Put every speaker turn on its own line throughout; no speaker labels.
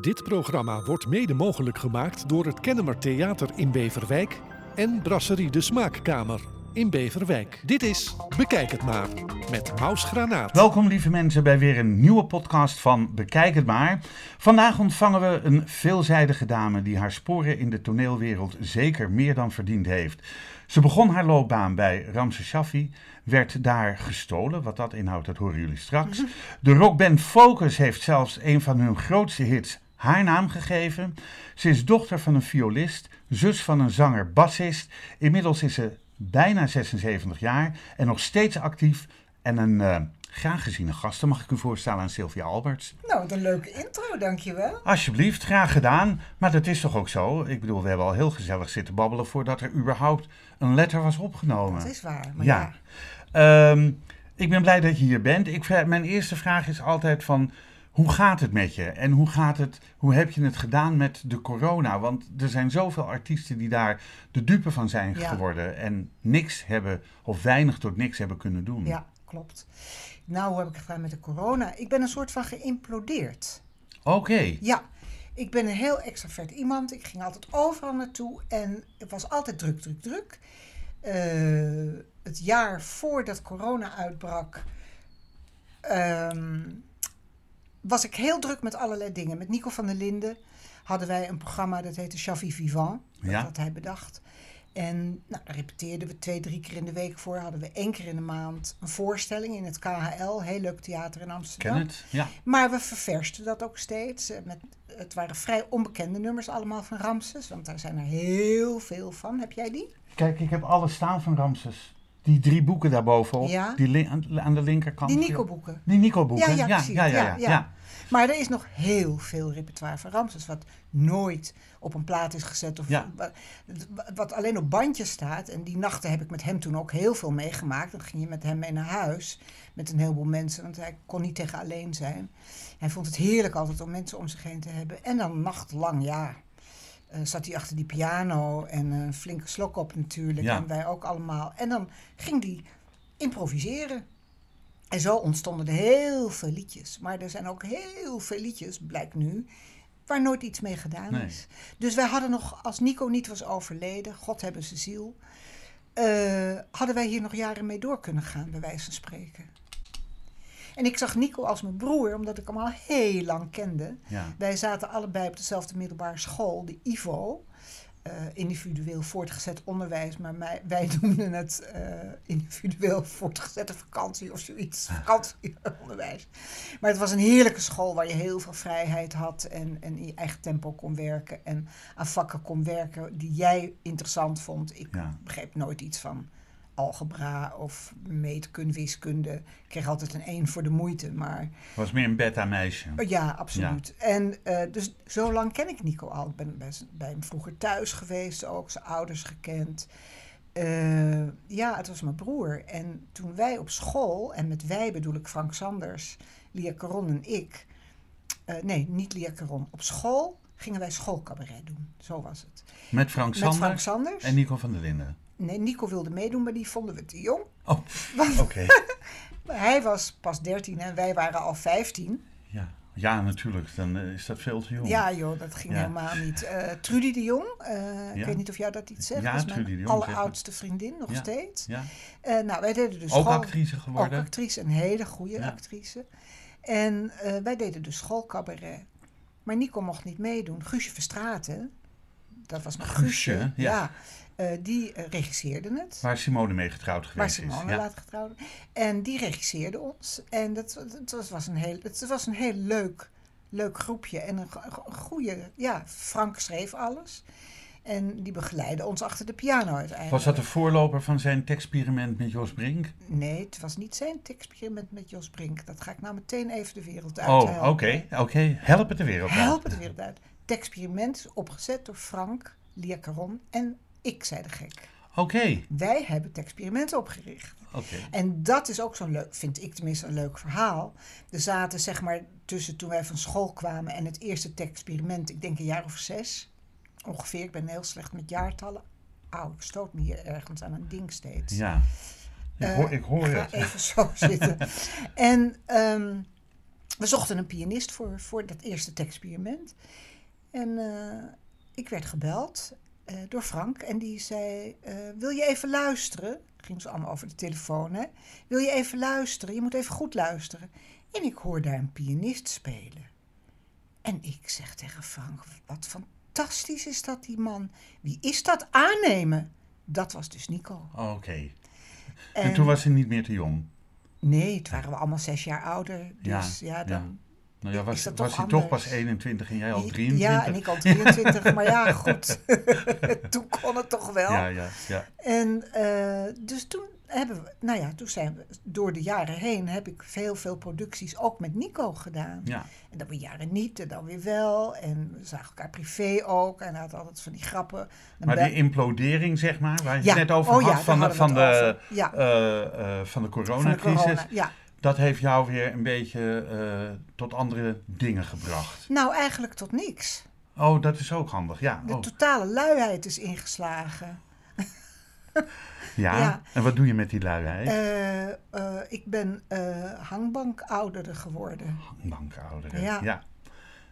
Dit programma wordt mede mogelijk gemaakt door het Kennemer Theater in Beverwijk en Brasserie de Smaakkamer in Beverwijk. Dit is Bekijk het maar met Maus Granaat.
Welkom lieve mensen bij weer een nieuwe podcast van Bekijk het maar. Vandaag ontvangen we een veelzijdige dame die haar sporen in de toneelwereld zeker meer dan verdiend heeft. Ze begon haar loopbaan bij Ramse Shaffi, werd daar gestolen, wat dat inhoudt dat horen jullie straks. De rockband Focus heeft zelfs een van hun grootste hits haar naam gegeven. Ze is dochter van een violist, zus van een zanger-bassist. Inmiddels is ze bijna 76 jaar en nog steeds actief en een eh, graag geziene gast. Dan mag ik u voorstellen aan Sylvia Alberts.
Nou, wat een leuke intro, dankjewel.
Alsjeblieft, graag gedaan. Maar dat is toch ook zo? Ik bedoel, we hebben al heel gezellig zitten babbelen voordat er überhaupt een letter was opgenomen.
Dat is waar. Maar
ja.
ja.
Ehm, ik ben blij dat je hier bent. Ik, vra- mijn eerste vraag is altijd van, hoe gaat het met je? En hoe, gaat het, hoe heb je het gedaan met de corona? Want er zijn zoveel artiesten die daar de dupe van zijn
Ja.
geworden. En niks hebben, of weinig tot niks hebben kunnen doen.
ja, klopt. Nou, hoe heb ik het gedaan met de corona? Ik ben een soort van geïmplodeerd.
Oké,
Ja, ik ben een heel extravert iemand. Ik ging altijd overal naartoe en het was altijd druk, druk, druk. Eh, het jaar voordat corona uitbrak, ehm, was ik heel druk met allerlei dingen. Met Nico van der Linden hadden wij een programma dat heette Chavi Vivant. Dat
Ja.
had hij bedacht. En nou, daar repeteerden we twee, drie keer in de week voor. Hadden we één keer in de maand een voorstelling in het KHL. Heel leuk theater in Amsterdam.
ken het? Ja.
Maar we verversten dat ook steeds. eh, Met, het waren vrij onbekende nummers allemaal van Ramses, want daar zijn er heel veel van. Heb jij die?
Kijk, ik heb alles staan van Ramses. Die drie boeken daarbovenop,
Ja.
die li- aan- aan de linkerkant.
Die Nico-boeken.
Die Nico-boeken,
Ja, ja, precies.
ja, ja, ja,
Ja, ja.
ja.
Maar er is nog heel veel repertoire van Ramses, wat nooit op een plaat is gezet. Of
Ja.
wa- Wat alleen op bandjes staat. En die nachten heb ik met hem toen ook heel veel meegemaakt. Dan ging je met hem mee naar huis, met een heleboel mensen, want hij kon niet tegen alleen zijn. Hij vond het heerlijk altijd om mensen om zich heen te hebben. En dan nachtlang, ja. eh, zat hij achter die piano en een flinke slok op natuurlijk.
Ja.
En wij ook allemaal. En dan ging hij improviseren. En zo ontstonden er heel veel liedjes. Maar er zijn ook heel veel liedjes, blijkt nu, waar nooit iets mee gedaan
Nee.
is. Dus wij hadden nog, als Nico niet was overleden, God hebben zijn ziel, eh, hadden wij hier nog jaren mee door kunnen gaan, bij wijze van spreken. En ik zag Nico als mijn broer, omdat ik hem al heel lang kende.
Ja.
Wij zaten allebei op dezelfde middelbare school, de IVO. eh, individueel voortgezet onderwijs, maar mij- wij noemden het eh, individueel voortgezette vakantie of zoiets.
Ah.
Vakantieonderwijs. Maar het was een heerlijke school waar je heel veel vrijheid had en, en in je eigen tempo kon werken en aan vakken kon werken die jij interessant vond. Ik
Ja.
begreep nooit iets van algebra of meetkunde, wiskunde. Ik kreeg altijd een 1 voor de moeite, maar
Was meer een beta-meisje.
Oh, Ja, absoluut. En eh, dus zo lang ken ik Nico al. Ik ben bij, z- bij hem vroeger thuis geweest ook, zijn ouders gekend. Eh, ja, het was mijn broer. En toen wij op school, en met wij bedoel ik Frank Sanders, Lia Caron en ik. eh, nee, niet Lia Caron. Op school gingen wij schoolcabaret doen. Zo was het.
Met Frank
Met
Sanders
Frank Sanders.
en Nico van der Linden.
Nee, Nico wilde meedoen, maar die vonden we te jong.
Oh, oké.
Hij was pas 13 en wij waren al 15.
Ja. ja, natuurlijk. Dan eh, is dat veel te jong.
Ja, joh, dat ging
Ja.
helemaal niet. Eh, Trudy de Jong, eh,
Ja.
ik weet niet of jou dat iets zegt.
Ja,
dat is mijn
Trudy de Jong,
alleroudste vriendin nog
Ja.
steeds.
Ja.
Eh, nou, wij deden dus
Ook
school-
actrice geworden.
Ook actrice, een hele goede
Ja.
actrice. En eh, wij deden dus schoolcabaret. Maar Nico mocht niet meedoen. Guusje Verstraeten, dat was nog
Guusje,
Guusje.
ja.
eh, die eh, regisseerde het.
Waar Simone mee getrouwd
Waar
geweest
Simone
is. Ja.
laat getrouwd. En die regisseerde ons. En dat, dat was, was een heel, het was een heel leuk, leuk groepje. En een, go- go- een goede... Ja, Frank schreef alles. En die begeleidde ons achter de piano uiteindelijk.
Was dat de voorloper van zijn experiment met Jos Brink?
Nee, het was niet zijn experiment met Jos Brink. Dat ga ik nou meteen even de wereld uit
Oh, oké.
helpen.
oké. Help het de wereld uit.
Help het de wereld uit. Het experiment is opgezet door Frank, Lia Caron en ik, zei de gek.
Oké,
Wij hebben het experiment opgericht.
oké.
En dat is ook zo'n leuk, vind ik tenminste, een leuk verhaal. Er zaten zeg maar tussen toen wij van school kwamen en het eerste experiment, ik denk een jaar of zes ongeveer. Ik ben heel slecht met jaartallen. Auw, ik stoot me hier ergens aan een ding steeds.
Ja.
Eh,
Ik hoor, ik hoor
Ga
het.
even zo zitten. En ehm, We zochten een pianist voor, voor dat eerste experiment. En eh, ik werd gebeld eh, door Frank en die zei: eh, Wil je even luisteren? Ging ze allemaal over de telefoon, hè? Wil je even luisteren? Je moet even goed luisteren. En ik hoor daar een pianist spelen. En ik zeg tegen Frank: Wat fantastisch is dat, die man. Wie is dat aannemen? Dat was dus Nico.
Oh, Oké. En toen was ze niet meer te jong.
Nee, het waren we allemaal zes jaar ouder. Dus ja, dan.
Nou ja, was,
dat
was
toch
hij toch
anders?
pas 21 en jij al
Ja,
23?
Ja, en ik al 23, maar ja, goed. toen kon het toch wel.
Ja, ja, ja.
En eh, dus toen hebben we, nou ja, toen zijn we, door de jaren heen heb ik veel, veel producties ook met Nico gedaan.
ja.
En dan weer jaren niet en dan weer wel. En we zagen elkaar privé ook en hij had altijd van die grappen. Dan
Maar
bel-
die implodering, zeg maar, waar je
Ja.
het net over
Oh ja,
had
daar
van, de,
hadden we
van,
het
de,
over. Ja.
eh, eh, van de
van de
coronacrisis,
corona. Ja.
dat heeft jou weer een beetje eh, tot andere dingen gebracht.
Nou, eigenlijk tot niks.
Oh, dat is ook handig, ja.
De
Oh,
totale luiheid is ingeslagen.
ja.
ja.
En wat doe je met die luiheid?
Eh, eh, ik ben eh hangbankoudere geworden.
Bankouder. Ja.
Ja.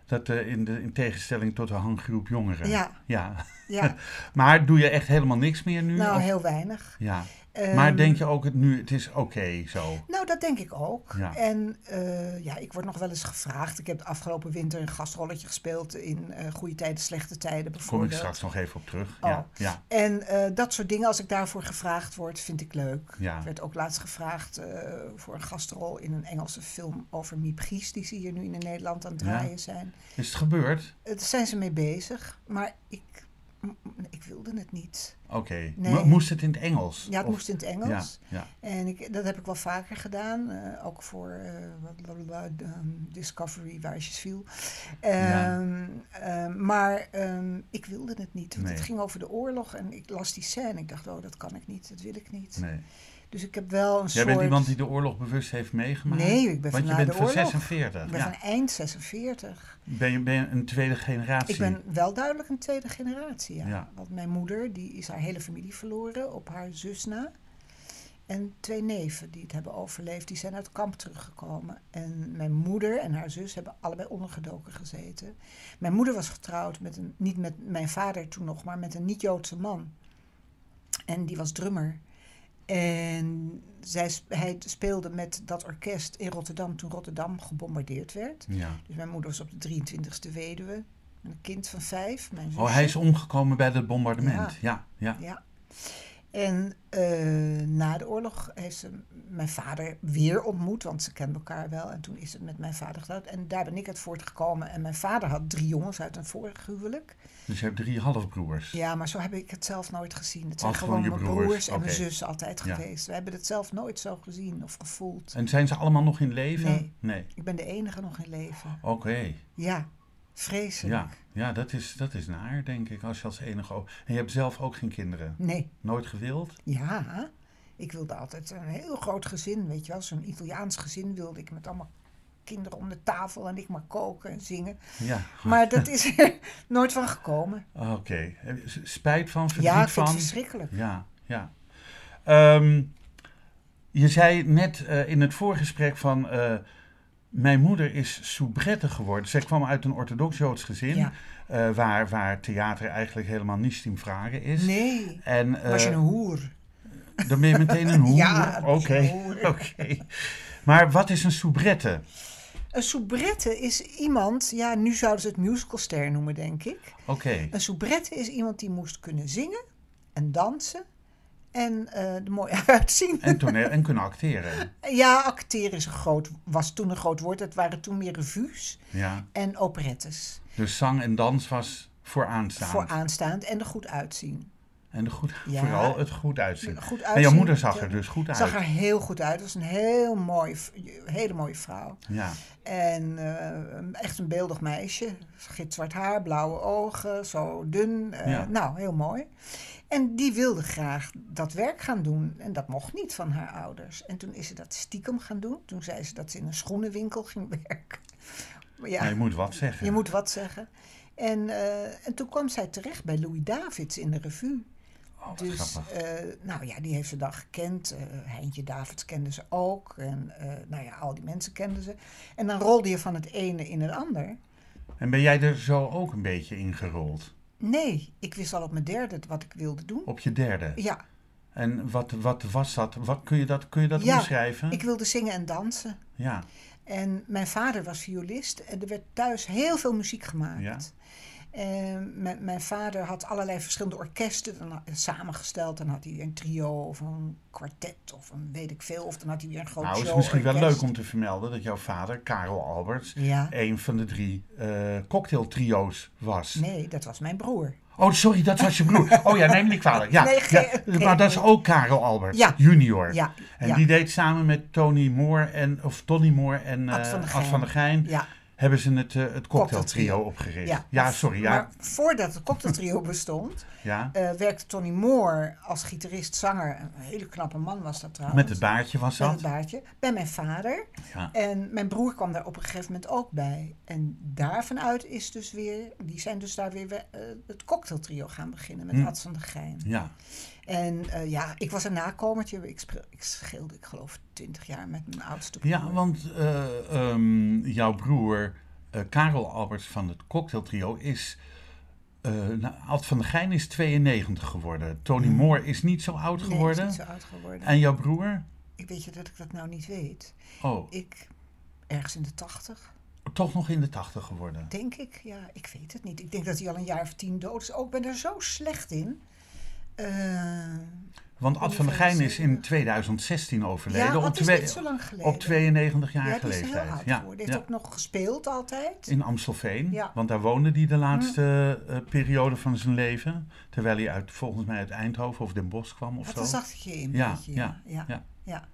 Dat eh, in, de, in tegenstelling tot de hanggroep jongeren.
Ja.
ja.
Ja,
Maar doe je echt helemaal niks meer nu?
nou
Of-
heel weinig.
Ja.
Ehm,
maar denk je ook het nu, het is oké zo?
Nou, dat denk ik ook.
Ja.
En eh, ja, ik word nog wel eens gevraagd. Ik heb de afgelopen winter een gastrolletje gespeeld in eh Goede Tijden, Slechte Tijden
Daar kom ik
bijvoorbeeld.
straks nog even op terug.
Oh.
Ja, ja.
En eh, dat soort dingen, als ik daarvoor gevraagd word, vind ik leuk.
Ja.
Ik werd ook laatst gevraagd eh, voor een gastrol in een Engelse film over Miep Gies, die ze hier nu in Nederland aan het
Ja.
draaien zijn.
Is het gebeurd?
Eh, Daar zijn ze mee bezig, maar ik, m- m- ik wilde het niet.
Oké.
Nee.
Mo- Moest het in het Engels?
Ja, het
Of-
moest in het Engels.
Ja, ja.
En ik, dat heb ik wel vaker gedaan. eh, ook voor eh, wat- wat- wat, ehm, Discovery, Waarsjesviel.
Ja.
Ehm ehm, maar ehm, ik wilde het niet. Want
Nee.
het ging over de oorlog. En ik las die scène. Ik dacht, oh, dat kan ik niet. Dat wil ik niet.
Nee.
Dus ik heb wel een
Jij
soort...
bent iemand die de oorlog bewust heeft meegemaakt?
Nee, ik ben
Want
van
je
na
bent
de
van
oorlog.
46.
Ik ben
ja.
van eind 46.
ben, je, ben je een tweede generatie?
Ik ben wel duidelijk een tweede generatie, ja.
Ja.
Want mijn moeder, die is haar hele familie verloren op haar zus na. En twee neven die het hebben overleefd, die zijn uit het kamp teruggekomen. En mijn moeder en haar zus hebben allebei ondergedoken gezeten. Mijn moeder was getrouwd met een, niet met mijn vader toen nog, maar met een niet-Joodse man. En die was drummer. En zij, sp- hij speelde met dat orkest in Rotterdam toen Rotterdam gebombardeerd werd.
Ja.
Dus mijn moeder was op de 23e weduwe. Met een kind van vijf. Mijn
Oh,
zusje.
hij is omgekomen bij het bombardement. Ja, ja.
Ja. En eh, na de oorlog heeft ze mijn vader weer ontmoet, want ze kenden elkaar wel. En toen is het met mijn vader getrouwd. En daar ben ik uit voortgekomen. En mijn vader had drie jongens uit een vorig huwelijk.
Dus je hebt drie halfbroers.
Ja, maar zo heb ik het zelf nooit gezien. Het
Oh,
zijn
gewoon
gewoon,
je
mijn
broers.
broers, en mijn
Oké.
zus altijd
Ja.
geweest. We hebben het zelf nooit zo gezien of gevoeld.
En zijn ze allemaal nog in leven?
Nee.
nee.
Ik ben de enige nog in leven.
Oké.
Ja, vreselijk.
Ja, ja dat, is, dat is naar, denk ik, als je als enige... o- En je hebt zelf ook geen kinderen.
Nee.
Nooit gewild?
Ja, ik wilde altijd een heel groot gezin, weet je wel. Zo'n Italiaans gezin wilde ik met allemaal kinderen om de tafel en ik maar koken en zingen.
Ja.
Maar dat is er nooit van gekomen.
Oké. Eh, s- Spijt van, verdriet
Ja, ik
van?
vind het verschrikkelijk.
Ja, ja. Ehm, je zei net eh, in het voorgesprek van... eh, mijn moeder is soubrette geworden. Zij kwam uit een orthodox-Joods gezin...
Ja.
eh, waar, waar theater eigenlijk helemaal niet in vragen is.
Nee,
En,
was je
eh,
een hoer?
Dan ben je meteen een hoer.
Ja,
oké.
dat is een hoer.
oké. Maar wat is een soubrette?
Een soubrette is iemand, ja, nu zouden ze het musicalster noemen, denk ik.
Oké.
Een soubrette is iemand die moest kunnen zingen en dansen en eh er mooi uitzien.
En toneel en kunnen acteren.
Ja, acteren is een groot, was toen een groot woord. Het waren toen meer revues
Ja.
en operettes.
Dus zang en dans was vooraanstaand.
vooraanstaand en er goed uitzien.
En de goed,
Ja.
vooral het goed uitzien.
Goed uitzien.
en jouw moeder zag
Ja.
er dus goed uit.
Zag er heel goed uit. Was een heel mooi, v- hele mooie vrouw.
Ja.
En eh, echt een beeldig meisje. Gitzwart haar, blauwe ogen, zo dun. eh,
Ja.
Nou, heel mooi. En die wilde graag dat werk gaan doen. En dat mocht niet van haar ouders. En toen is ze dat stiekem gaan doen. Toen zei ze dat ze in een schoenenwinkel ging werken. Maar ja,
Maar je moet wat zeggen.
je moet wat zeggen. En, eh, en toen kwam zij terecht bij Louis Davids in de revue.
Oké. Oh, wat
dus,
grappig.
eh, nou ja, die heeft ze dan gekend. Eh, Heintje Davids kende ze ook. En eh, nou ja, al die mensen kenden ze. En dan rolde je van het ene in het ander.
En ben jij er zo ook een beetje ingerold?
Nee, ik wist al op mijn derde wat ik wilde doen.
Op je derde?
Ja,
En wat, wat was dat? Wat, kun je dat, kun je dat
Ja,
omschrijven?
ik wilde zingen en dansen.
Ja,
En mijn vader was violist en er werd thuis heel veel muziek gemaakt.
Ja.
En mijn, mijn vader had allerlei verschillende orkesten dan had- samengesteld. Dan had hij weer een trio of een kwartet of een weet ik veel. Of dan had hij weer een groot
nou is
show.
het misschien wel leuk om te vermelden dat jouw vader, Karel Alberts,
Ja,
een van de drie eh cocktailtrio's was.
nee, dat was mijn broer.
Oh, sorry, dat was je broer. Oh ja, neem me niet kwalijk. Ja,
Nee,
ja,
geen-
maar dat is
geen-
ook Karel Alberts,
Ja.
junior.
Ja,
En
ja,
die deed samen met Tony Moore en, of Tony Moore en eh
Ad van der Gein.
der Gein,
ja,
hebben ze het, eh, het cocktailtrio
Cocktailtrio.
opgericht. Ja,
ja.
sorry. Ja,
Maar voordat het cocktailtrio bestond,
ja.
eh, werkte Tony Moore als gitarist, zanger. Een hele knappe man was dat trouwens.
Met het baardje was
Eh, Met
dat.
het baardje. Bij mijn vader.
Ja.
En mijn broer kwam daar op een gegeven moment ook bij. En daarvanuit is dus weer, die zijn dus daar weer we- eh, het cocktailtrio gaan beginnen met
Hm.
Ad van der Gein.
Ja,
En eh, ja, ik was een nakomertje. Ik, speel- ik scheelde, ik geloof, twintig jaar met mijn oudste broer.
ja want eh, ehm, jouw broer eh, Karel Alberts van het cocktailtrio is... eh, nou, Ad van der Gein is 92 geworden. Tony Moore is niet zo oud
Mm. Nee, ik is
geworden.
niet zo oud geworden.
En jouw broer?
Ik weet je dat ik dat nou niet weet.
Oh,
Ik, ergens in de tachtig,
toch nog in de 80 geworden.
denk ik. Ja, ik weet het niet. Ik denk dat hij al een jaar of tien dood is. Ook ik ben er zo slecht in. Eh,
Want Ad van der Gein is in 2016 overleden.
Ja,
op,
dat is
twee-
niet zo lang geleden.
op 92-jarige
ja, die is er heel
leeftijd.
oud
Ja,
geworden. Hij
ja.
heeft ook nog gespeeld altijd.
In Amstelveen,
Ja. Mm.
want daar woonde hij de laatste eh, periode van zijn leven. Terwijl hij uit, volgens mij uit Eindhoven of Den Bosch kwam of
Wat
zo.
een zachtige in.
Ja,
beetje,
ja,
ja,
ja.
ja. ja.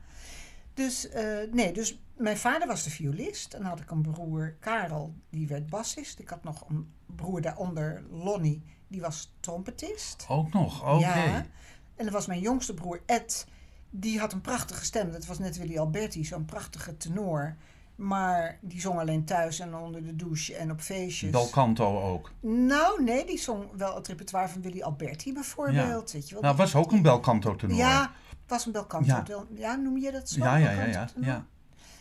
Dus, eh, nee, dus mijn vader was de violist. En dan had ik een broer, Karel, die werd bassist. Ik had nog een broer daaronder, Lonnie, die was trompetist.
Ook nog, oké.
Ja. En dan was mijn jongste broer, Ed, die had een prachtige stem. Dat was net Willy Alberti, zo'n prachtige tenor. Maar die zong alleen thuis en onder de douche en op feestjes.
Dal Canto ook.
Nou, nee, die zong wel het repertoire van Willy Alberti bijvoorbeeld. Weet je wel.
Nou,
Die-
was ook een Bel Canto tenor.
Ja, was een belkanto.
Ja.
Ja. noem je dat zo?
ja, ja, ja.
Belcanto
ja,
tenor?
ja.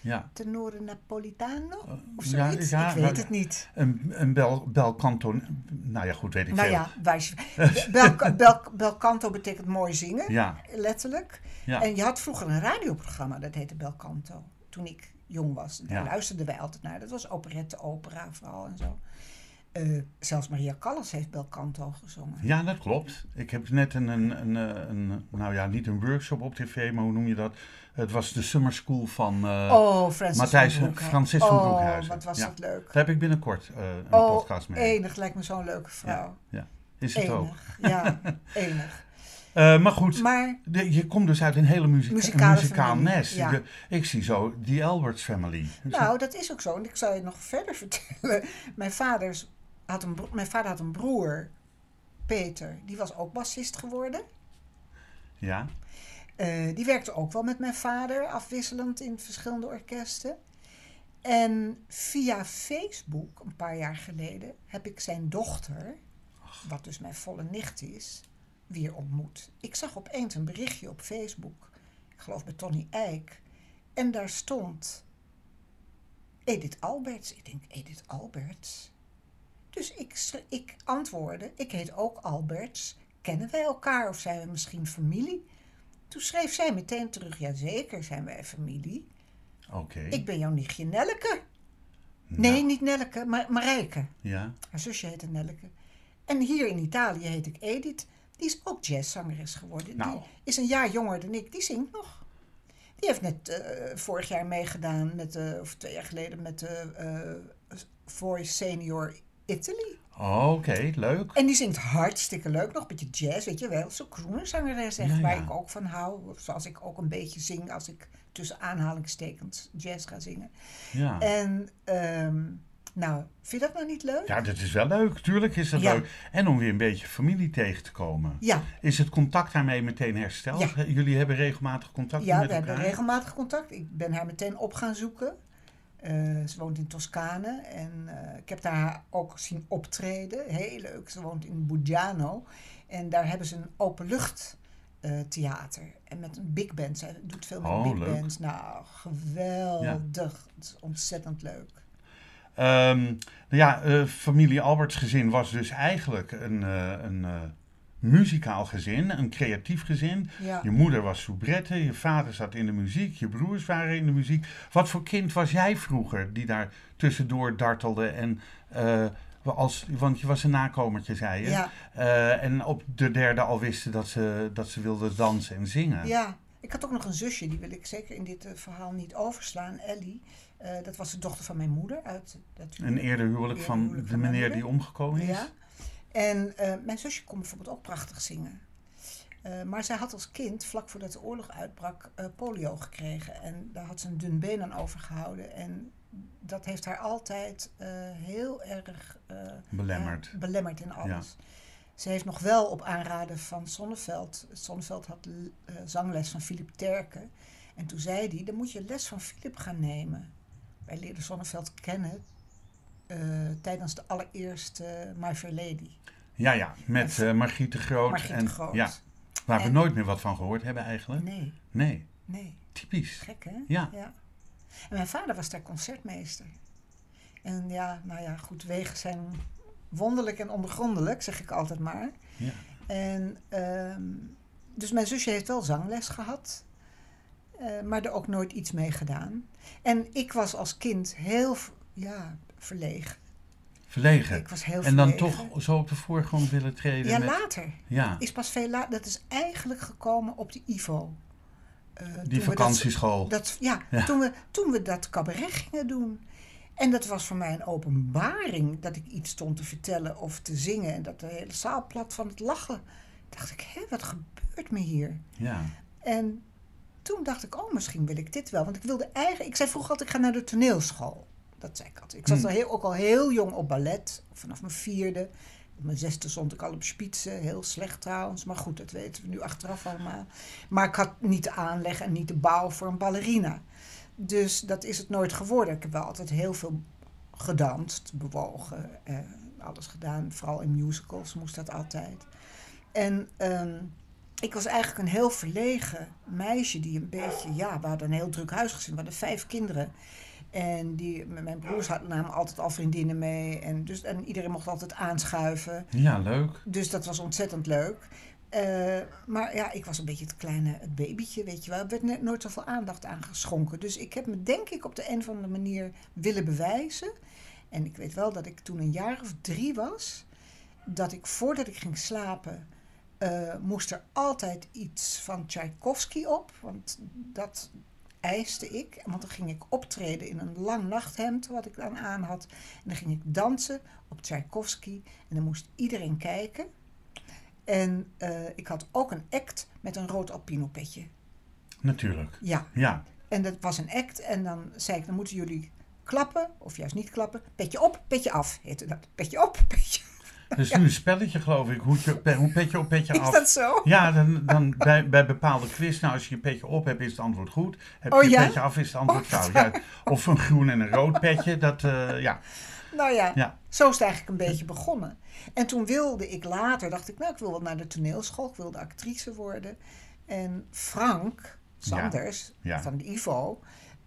ja.
Tenore Napolitano? Of
ja,
zoiets?
ja,
ik weet
nou,
het niet.
Een, een bel, bel Canto, nou ja, goed, weet ik
Nou
veel.
ja, wijs je. Bel, bel, belkanto betekent mooi zingen,
ja,
letterlijk.
ja.
En je had vroeger een radioprogramma, dat heette Belkanto. Toen ik jong was, daar
Ja.
luisterden wij altijd naar. Dat was operette, opera vooral en zo. Eh, zelfs Maria Callas heeft Belkanto gezongen.
Ja, dat klopt. Ik heb net een, een, een, eh, een, nou ja, niet een workshop op tv, maar hoe noem je dat? Het was de summer school van... eh,
Oh, Francis
Matthijs-
van Broekhuizen.
Francis van
Oh,
Broekhuizen.
wat was
Ja.
dat leuk.
Daar heb ik binnenkort eh, een
oh,
podcast mee.
enig. Lijkt me zo'n leuke vrouw.
Is het ook.
enig. Ja, enig.
Eh, maar goed,
Maar
de- je komt dus uit een hele muzika
Muzikale
muzikaal
familie,
nest.
ja.
De- ik zie zo die Alberts Family.
nou, dat is ook zo. En ik zal je nog verder vertellen. Mijn, vaders had een bro- mijn vader had een broer, Peter. Die was ook bassist geworden.
ja,
Eh, die werkte ook wel met mijn vader, afwisselend in verschillende orkesten. En via Facebook, een paar jaar geleden, heb ik zijn dochter, wat dus mijn volle nicht is, weer ontmoet. Ik zag opeens een berichtje op Facebook, ik geloof bij Tony Eijk, en daar stond Edith Alberts. Ik denk, Edith Alberts? Dus ik, s- ik antwoordde, ik heet ook Alberts. Kennen wij elkaar of zijn we misschien familie? Toen schreef zij meteen terug, ja zeker zijn wij familie.
oké. Nou,
Ik ben jouw nichtje Nelleke. Nee, niet Nelleke, maar Marijke.
Ja,
Haar zusje heette Nelleke. En hier in Italië heet ik Edith. Die is ook jazzzangeres geworden.
Nou.
Die is een jaar jonger dan ik. Die zingt nog. Die heeft net eh, vorig jaar meegedaan, met, de- of twee jaar geleden, met de eh, Voice Senior Italy.
oké, leuk.
En die zingt hartstikke leuk, nog een beetje jazz, weet je wel. Zo'n kroonzangeres, echt,
Ja,
waar
ja.
ik ook van hou. Zoals ik ook een beetje zing als ik tussen aanhalingstekens jazz ga zingen.
Ja.
En, ehm, nou, vind je dat nou niet leuk?
ja, dat is wel leuk. Tuurlijk is dat
Ja.
leuk. En om weer een beetje familie tegen te komen.
Ja,
Is het contact daarmee meteen hersteld?
Ja.
Jullie hebben regelmatig contact
ja
met
we hebben
elkaar?
regelmatig contact. Ik ben haar meteen op gaan zoeken. Eh, ze woont in Toscane en eh, ik heb daar ook zien optreden. Heel leuk. Ze woont in Bugiano. En daar hebben ze een openlucht eh, theater. En met een big band. Zij doet veel met
Oh,
big
leuk.
bands. Nou, geweldig. Het is ontzettend leuk.
Ehm, nou ja, eh, familie Alberts gezin was dus eigenlijk een, eh, een eh, muzikaal gezin, een creatief gezin.
Ja.
Je moeder was soubrette, je vader zat in de muziek, je broers waren in de muziek. Wat voor kind was jij vroeger die daar tussendoor dartelde en... eh, als, want je was een nakomertje, zei je.
Ja.
Eh, en op de derde al wisten dat ze, dat ze wilde dansen en zingen.
Ja, ik had ook nog een zusje, die wil ik zeker in dit eh, verhaal niet overslaan, Ellie. Eh, dat was de dochter van mijn moeder uit dat
Een eerder huwelijk
Eerder
van
huwelijk
de
van mijn
meneer
moeder.
die omgekomen is.
Ja. En eh, mijn zusje kon bijvoorbeeld ook prachtig zingen. Eh, maar zij had als kind, vlak voordat de oorlog uitbrak, eh, polio gekregen. En daar had ze een dun been aan overgehouden. En dat heeft haar altijd eh, heel erg eh,
Belemmerd.
ja, belemmerd in alles. Ze heeft nog wel op aanraden van Sonneveld. Sonneveld had l- eh, zangles van Philip Terken. En toen zei hij: dan moet je les van Philip gaan nemen. Wij leerden Sonneveld kennen eh, tijdens de allereerste My Fair Lady.
Ja, ja, met eh Margriet de Groot.
Margriet
en,
de Groot.
Ja, waar we
En-
nooit meer wat van gehoord hebben eigenlijk. Nee,
Nee, nee.
typisch.
Gek, hè?
Ja.
En mijn vader was daar concertmeester. En ja, nou ja, goed, wegen zijn wonderlijk en onbegrondelijk, zeg ik altijd maar.
Ja.
En, ehm, dus mijn zusje heeft wel zangles gehad, eh, maar er ook nooit iets mee gedaan. En ik was als kind heel, v- ja, verlegen.
Verlegen.
Ik was heel
en dan
verlegen.
toch zo op de voorgrond willen treden.
Ja,
met-
later.
ja
Is pas veel later. Dat is eigenlijk gekomen op de IVO. Eh, toen we
die
dat-
vakantieschool.
Dat, ja,
Ja.
Toen, we, toen we dat cabaret gingen doen. En dat was voor mij een openbaring dat ik iets stond te vertellen of te zingen. En dat de hele zaal plat van het lachen. Dacht ik, hé, wat gebeurt me hier?
Ja.
En toen dacht ik, oh, misschien wil ik dit wel. Want ik wilde eigenlijk... Ik zei vroeger altijd, ik ga naar de toneelschool. Dat zei ik altijd. Ik zat
Hmm.
al heel, ook al heel jong op ballet. Vanaf mijn vierde. Op mijn zesde stond ik al op spitsen. Heel slecht trouwens. Maar goed, dat weten we nu achteraf allemaal. Maar ik had niet de aanleg en niet de bouw voor een ballerina. Dus dat is het nooit geworden. Ik heb wel altijd heel veel gedanst, bewogen. eh, alles gedaan. Vooral in musicals moest dat altijd. En... ehm, ik was eigenlijk een heel verlegen meisje die een beetje, ja, we hadden een heel druk huisgezin, we hadden vijf kinderen. En die, m- mijn broers hadden namen altijd al vriendinnen mee en, dus, en iedereen mocht altijd aanschuiven.
ja, leuk.
Dus dat was ontzettend leuk. Eh, maar ja, ik was een beetje het kleine het babytje, weet je wel. Er werd net nooit zoveel aandacht aan geschonken. Dus ik heb me denk ik op de een of andere manier willen bewijzen. En ik weet wel dat ik toen een jaar of drie was, dat ik voordat ik ging slapen, eh, moest er altijd iets van Tchaikovsky op. Want dat eiste ik. Want dan ging ik optreden in een lang nachthemd, wat ik dan aan had. En dan ging ik dansen op Tchaikovsky. En dan moest iedereen kijken. En eh, ik had ook een act met een rood alpino petje.
Natuurlijk.
Ja,
Ja.
en dat was een act. En dan zei ik, dan moeten jullie klappen, of juist niet klappen. Petje op, petje af heette dat. Petje op, petje
Dus nu een spelletje, geloof ik. Hoedje, op pe- hoe petje op petje
Is
af.
dat zo?
Ja, dan, dan bij, bij bepaalde quiz. Nou, als je je petje op hebt, is het antwoord goed. Heb je
Oh,
je
ja?
petje af, is het antwoord fout. Ja. Of een groen en een rood petje. Dat, eh, ja.
Nou ja,
Ja.
zo is het eigenlijk een beetje begonnen. En toen wilde ik later, dacht ik, nou, ik wil wel naar de toneelschool, ik wilde actrice worden. En Frank Sanders
Ja, ja.
van de IVO,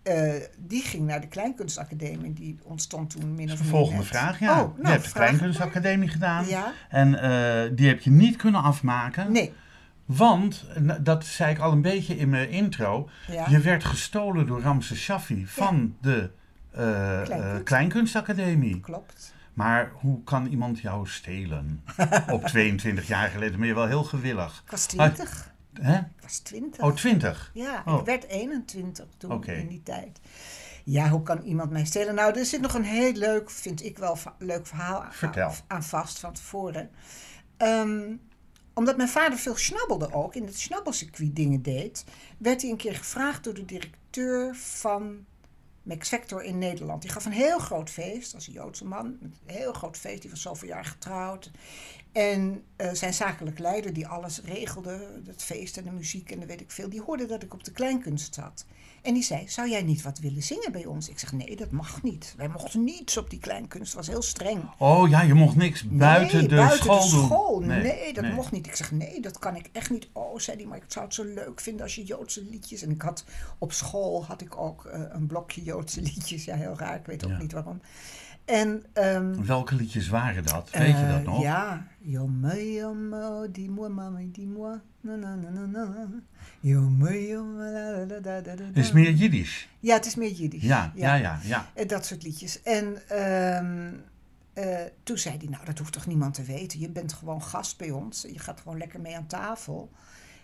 eh, die ging naar de Kleinkunstacademie. Die ontstond toen min of
De
meer.
volgende
net.
vraag, ja.
Oh,
je
nou,
hebt de
vraag
Kleinkunstacademie gedaan.
Ja.
En eh, die heb je niet kunnen afmaken.
Nee,
Want, en dat zei ik al een beetje in mijn intro,
Ja.
je werd gestolen door Ramses Shaffi van de eh, eh,
Kleinkunst.
Kleinkunstacademie.
klopt.
Maar hoe kan iemand jou stelen? Op 22 jaar geleden ben je wel heel gewillig.
Ik was
Ah,
twintig.
hè?
Ik was twintig.
Oh, 20.
Ja,
Oh.
ik werd 21 toen
Oké.
in die tijd. Ja, hoe kan iemand mij stelen? Nou, er zit nog een heel leuk, vind ik wel, va- leuk verhaal aan,
Vertel.
aan vast van tevoren. Ehm, omdat mijn vader veel schnabbelde ook, in het snabbelcircuit dingen deed, werd hij een keer gevraagd door de directeur van Max Factor in Nederland. Die gaf een heel groot feest, als een Joodse man, een heel groot feest. Die was zoveel jaar getrouwd. En eh, zijn zakelijk leider, die alles regelde, het feest en de muziek en dan weet ik veel, die hoorde dat ik op de kleinkunst zat. En die zei: Zou jij niet wat willen zingen bij ons? Ik zeg: Nee, dat mag niet. Wij mochten niets op die kleinkunst, het was heel streng.
Oh ja, je mocht niks buiten,
nee,
de,
buiten
school
de
doen.
school. Nee, dat mocht niet. Ik zeg, nee, dat kan ik echt niet. Oh, zei die, maar ik zou het zo leuk vinden als je Joodse liedjes... En ik had op school had ik ook eh, een blokje Joodse liedjes. Ja, heel raar. Ik weet ook
Ja.
niet waarom. En... ehm,
Welke liedjes waren dat? Weet je dat
eh,
nog?
Ja. Jomme, jomme, dis-moi, mama, dis-moi. Na, na, na, na, na. Jomme, jomme, la, la, la, da, da, da,
Het is
da.
meer Jiddisch.
Ja, het is meer Jiddisch.
Ja, ja, ja, ja.
Eh, Dat soort liedjes. En ehm, eh, toen zei hij, nou dat hoeft toch niemand te weten. Je bent gewoon gast bij ons. Je gaat gewoon lekker mee aan tafel.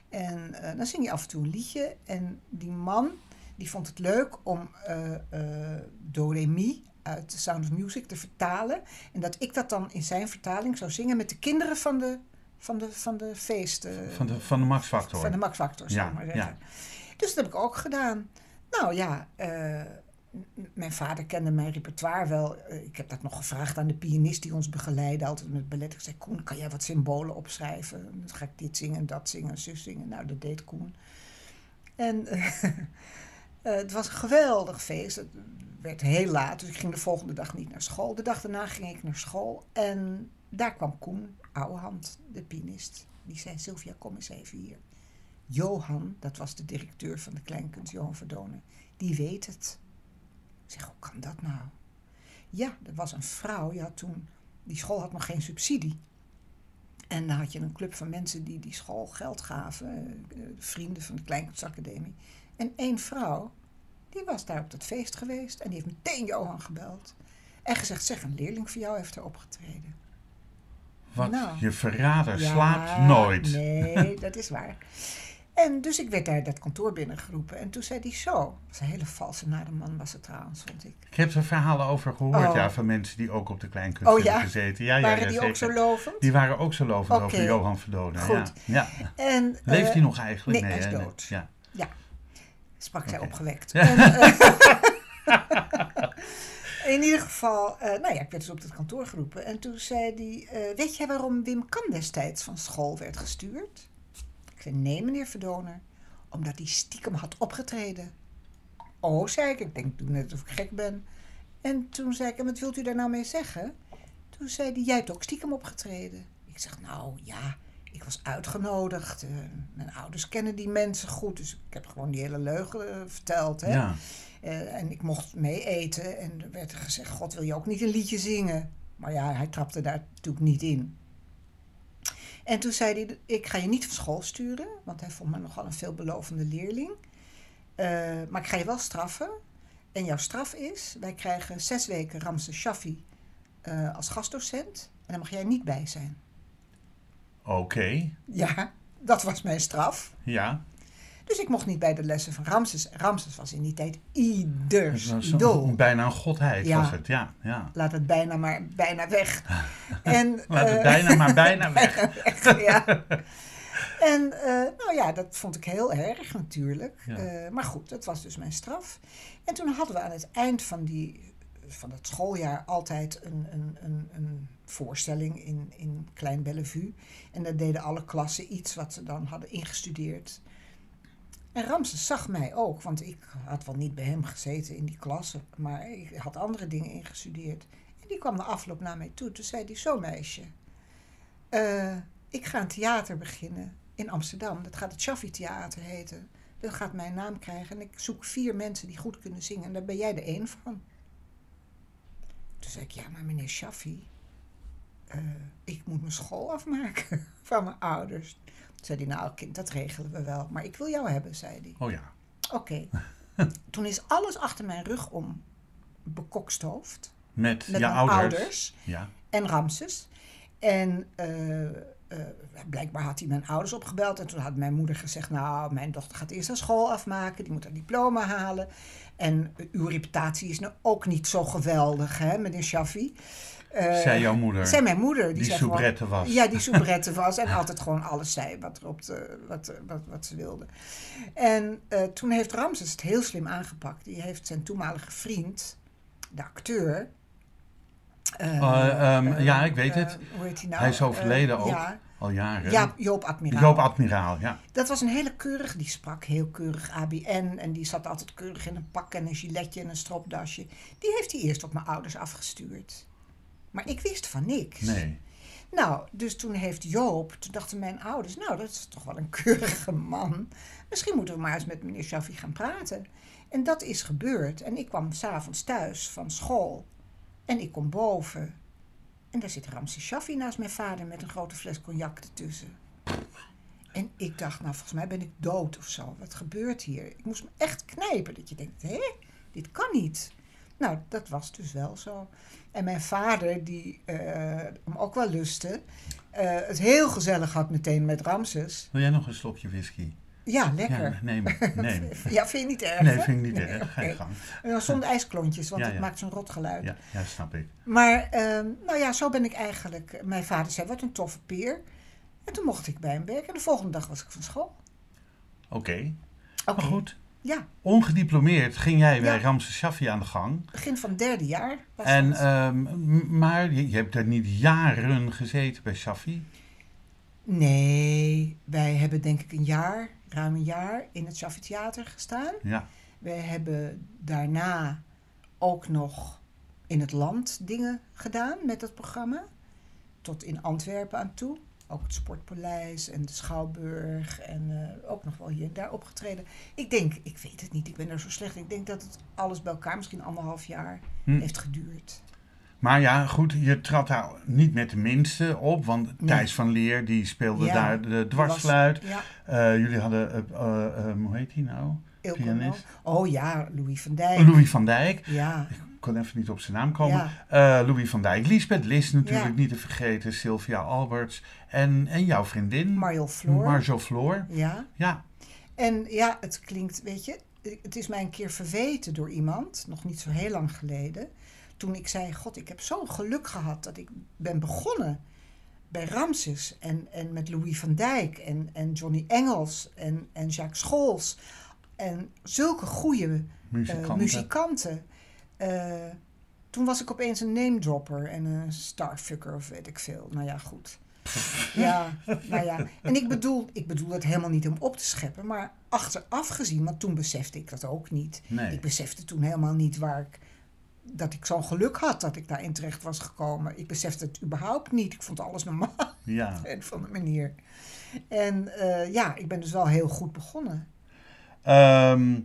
En eh, dan zing je af en toe een liedje. En die man, die vond het leuk om eh eh, Do Re Mi uit The Sound of Music te vertalen. En dat ik dat dan in zijn vertaling zou zingen met de kinderen van de, van de, van de feesten.
Van de, van de Max Factor.
Van de Max Factor,
Ja,
zou ik maar zeggen. Dus dat heb ik ook gedaan. Nou ja, eh, m- mijn vader kende mijn repertoire wel. Eh, ik heb dat nog gevraagd aan de pianist die ons begeleidde, altijd met ballet. Ik zei, Koen, kan jij wat symbolen opschrijven? Dan ga ik dit zingen, dat zingen, zus zingen. Nou, dat deed Koen. En eh, eh, het was een geweldig feest. Het werd heel laat, dus ik ging de volgende dag niet naar school. De dag daarna ging ik naar school en daar kwam Koen Ouwehand, de pianist. Die zei, Sylvia, kom eens even hier. Johan, dat was de directeur van de kleinkunst, Johan Verdonen, die weet het. Ik zeg, hoe kan dat nou? Ja, er was een vrouw, die, had toen, die school had nog geen subsidie. En dan had je een club van mensen die die school geld gaven, eh, eh, vrienden van de Kleinkunstacademie. En één vrouw, die was daar op dat feest geweest en die heeft meteen Johan gebeld. En gezegd, zeg, een leerling van jou heeft er opgetreden.
Wat,
Nou.
je verrader
Ja,
slaapt nooit.
Nee, dat is waar. En dus ik werd daar dat kantoor binnengeroepen. En toen zei hij zo. Dat was een hele valse nare man was het trouwens, vond ik.
Ik heb er verhalen over gehoord,
Oh.
ja, van mensen die ook op de kleinkunst
Oh,
hebben
ja?
gezeten. Ja, ja,
Waren
ja,
die ook
zeker.
zo lovend?
Die waren ook zo lovend
Oké.
over Johan Verdonen.
Goed.
Ja. ja.
En,
Leeft
eh,
hij nog eigenlijk?
nee, hij is
hè?
dood.
Ja.
Ja, sprak zij
Oké.
opgewekt. En, eh, in ieder geval, eh, nou ja, ik werd dus op het kantoor geroepen. En toen zei hij, eh, weet jij waarom Wim Kan destijds van school werd gestuurd? Ik zei, nee meneer Verdoner, omdat hij stiekem had opgetreden. Oh, zei ik, ik denk, doe net of ik gek ben. En toen zei ik, en wat wilt u daar nou mee zeggen? Toen zei hij, jij hebt ook stiekem opgetreden. Ik zeg, nou ja, ik was uitgenodigd. eh, mijn ouders kennen die mensen goed, dus ik heb gewoon die hele leugen eh, verteld. Hè?
Ja.
Eh, en ik mocht mee eten en er werd gezegd, god wil je ook niet een liedje zingen? Maar ja, hij trapte daar natuurlijk niet in. En toen zei hij, ik ga je niet van school sturen, want hij vond me nogal een veelbelovende leerling. Eh, maar ik ga je wel straffen. En jouw straf is, wij krijgen zes weken Ramse Shaffi eh, als gastdocent. En daar mag jij niet bij zijn.
Oké.
Ja, dat was mijn straf.
Ja.
Dus ik mocht niet bij de lessen van Ramses. Ramses was in die tijd ieders
Het was een-
idool.
bijna een godheid
Dus Ja.
was het. Ja. ja.
Laat het bijna maar bijna weg. En,
Laat het
eh,
bijna maar bijna weg.
Echt, ja. En eh, nou ja, dat vond ik heel erg natuurlijk.
Ja.
Eh, maar goed, dat was dus mijn straf. En toen hadden we aan het eind van, die, van dat schooljaar altijd een, een, een, een voorstelling in, in Klein Bellevue. En daar deden alle klassen iets wat ze dan hadden ingestudeerd. En Ramses zag mij ook, want ik had wel niet bij hem gezeten in die klasse, maar ik had andere dingen ingestudeerd. En die kwam de afloop naar mij toe. Toen zei hij: Zo, meisje, eh, ik ga een theater beginnen in Amsterdam. Dat gaat het Shaffi Theater heten. Dat gaat mijn naam krijgen. En ik zoek vier mensen die goed kunnen zingen. En daar ben jij de één van. Toen zei ik, ja, maar meneer Shaffi, eh, ik moet mijn school afmaken van mijn ouders. Toen zei hij, nou kind, dat regelen we wel. Maar ik wil jou hebben, zei hij.
Oh ja.
Oké. Toen is alles achter mijn rug om bekokstoofd.
Met,
Met
je
mijn
ouders.
ouders.
Ja.
en Ramses. En eh, eh, blijkbaar had hij mijn ouders opgebeld. En toen had mijn moeder gezegd: Nou, mijn dochter gaat eerst haar school afmaken. Die moet haar diploma halen. En eh, uw reputatie is nou ook niet zo geweldig, hè, meneer Shaffi. Eh,
Zei jouw moeder.
Zei mijn moeder. Die,
die
zei gewoon-
soubrette was.
Ja, die soubrette was. En altijd gewoon alles zei wat, er op de, wat, wat, wat ze wilde. En eh, toen heeft Ramses het heel slim aangepakt. Die heeft zijn toenmalige vriend, de acteur. eh,
Eh, ehm, ja, ik weet
eh,
het.
hoe heet heet hij nou?
Hij is overleden
Eh,
ook,
Ja,
al jaren.
ja Joop Admiraal.
Joop Admiraal, ja.
Dat was een hele keurige, die sprak heel keurig ABN en die zat altijd keurig in een pak en een giletje en een stropdasje. Die heeft hij eerst op mijn ouders afgestuurd. Maar ik wist van niks.
Nee.
Nou, dus toen heeft Joop, toen dachten mijn ouders, nou dat is toch wel een keurige man. Misschien moeten we maar eens met meneer Shafi gaan praten. En dat is gebeurd. En ik kwam s'avonds thuis van school en ik kom boven. En daar zit Ramse Shafi naast mijn vader met een grote fles cognac ertussen. En ik dacht, nou volgens mij ben ik dood of zo. Wat gebeurt hier? Ik moest me echt knijpen dat je denkt, hé, dit kan niet. Nou, dat was dus wel zo. En mijn vader, die eh, hem ook wel lustte, eh, het heel gezellig had meteen met Ramses.
Wil jij nog een slokje whisky?
Ja,
Ja,
lekker.
neem, neem.
Ja, vind je niet erg?
Nee,
hè?
vind ik niet
Nee,
erg. Ga je
oké.
gang.
En dan Zonder ijsklontjes, want
Ja,
het
ja.
maakt zo'n rot geluid.
Ja, ja, snap ik.
Maar, ehm, nou ja, zo ben ik eigenlijk. Mijn vader zei, wat een toffe peer. En toen mocht ik bij hem werken. En de volgende dag was ik van school.
Oké.
Oké.
Maar Oh, goed,
Ja,
ongediplomeerd ging jij bij
Ja.
Ramses Shaffi aan de gang.
begin van het derde jaar. Was
En,
dat.
ehm, m- maar je, je hebt daar niet jaren gezeten bij Shaffi.
Nee, wij hebben denk ik een jaar, ruim een jaar, in het Shaffi Theater gestaan.
Ja,
Wij hebben daarna ook nog in het land dingen gedaan met dat programma. Tot in Antwerpen aan toe. Ook het Sportpaleis en de Schouwburg en eh, ook nog wel hier en daar opgetreden. Ik denk, ik weet het niet, ik ben er zo slecht. in. Ik denk dat het alles bij elkaar misschien anderhalf jaar
Hm.
heeft geduurd.
maar ja, goed, je trad daar niet met de minste op, want
Nee.
Thijs van Leer die speelde
Ja,
daar de dwarsfluit.
Was- Ja,
Eh, jullie hadden, eh, eh, eh, hoe heet hij nou?
Ilko
Pianist.
Nol. Oh ja, Louis van Dijk.
Louis van Dijk.
Ja,
Ik kon even niet op zijn naam komen.
Ja.
Eh, Louis van Dijk, Lisbeth Lis natuurlijk
Ja.
niet te vergeten, Sylvia Alberts en, en jouw vriendin
Marjol Floor.
Marjo Floor.
ja.
Ja,
En ja, het klinkt, weet je, het is mij een keer verweten door iemand, nog niet zo heel lang geleden. Toen ik zei, god, ik heb zo'n geluk gehad dat ik ben begonnen bij Ramses en, en met Louis van Dijk en, en Johnny Engels en, en Jacques Scholz. En zulke goede
muzikanten.
eh, muzikanten. Eh, toen was ik opeens een name dropper en een starfucker of weet ik veel. Nou ja, goed. Ja, nou ja. En ik bedoel, ik bedoel dat helemaal niet om op te scheppen, maar achteraf gezien, want toen besefte ik dat ook niet.
Nee.
Ik besefte toen helemaal niet waar ik, dat ik zo'n geluk had dat ik daarin terecht was gekomen. Ik besefte het überhaupt niet. Ik vond alles normaal
Ja.
en van de manier. En eh, ja, ik ben dus wel heel goed begonnen.
Ehm,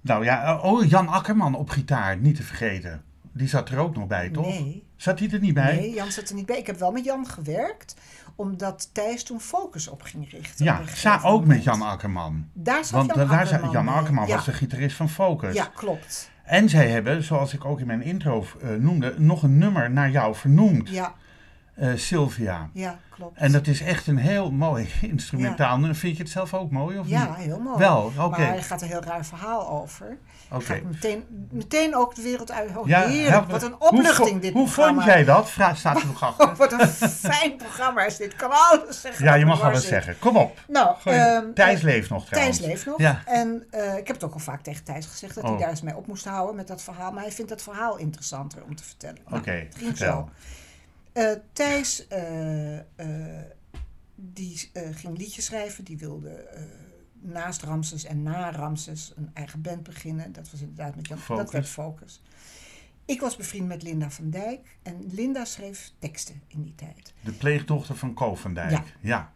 nou ja, oh, Jan Akkerman op gitaar, niet te vergeten. Die zat er ook nog bij, toch?
Nee.
Zat hij er niet bij?
Nee, Jan zat er niet bij. Ik heb wel met Jan gewerkt, omdat Thijs toen Focus op ging richten. op
Ja,
een
sa-
gegeven
ook met
moment.
Jan Akkerman.
Daar zat
Want
Jan
eh, daar
Akkerman
zat Jan
bij.
Akkerman
ja.
was de gitarist van Focus.
Ja, klopt.
En zij hebben, zoals ik ook in mijn intro eh, noemde, nog een nummer naar jou vernoemd,
Ja,
eh, Sylvia.
ja, klopt.
En dat is echt een heel mooi instrumentaal. nummer. Vind je het zelf ook mooi of
ja,
niet?
heel mooi.
Wel, oké.
Maar hij gaat een heel raar verhaal over.
Oké.
Gaat meteen, meteen ook de wereld uit. Oh,
help
heerlijk,
me.
wat een
hoe,
opluchting
vo-
dit
Hoe
programma.
vond
Oh,
jij dat? Vraag staat er nog achter.
Wat een fijn programma is dit. Kan alles zeggen.
Ja,
wat
je
er
mag
maar
alles
zit.
zeggen. Kom op.
Nou,
Gooi-
ehm,
Thijs
eh,
leeft nog trouwens.
Thijs leeft nog.
Ja.
En eh, ik heb het ook al vaak tegen Thijs gezegd dat
Oh.
hij daar eens mee op moest houden met dat verhaal. Maar hij vindt dat verhaal interessanter om te vertellen. Nou,
Oké,
het ging
vertel.
zo. Eh, Thijs eh, eh, die, eh, ging liedjes schrijven. Die wilde eh, naast Ramses en na Ramses een eigen band beginnen. Dat was inderdaad met Jan.
Focus.
Dat werd Focus. Ik was bevriend met Linda van Dijk. En Linda schreef teksten in die tijd.
De pleegdochter van Ko van Dijk. Ja.
Ja.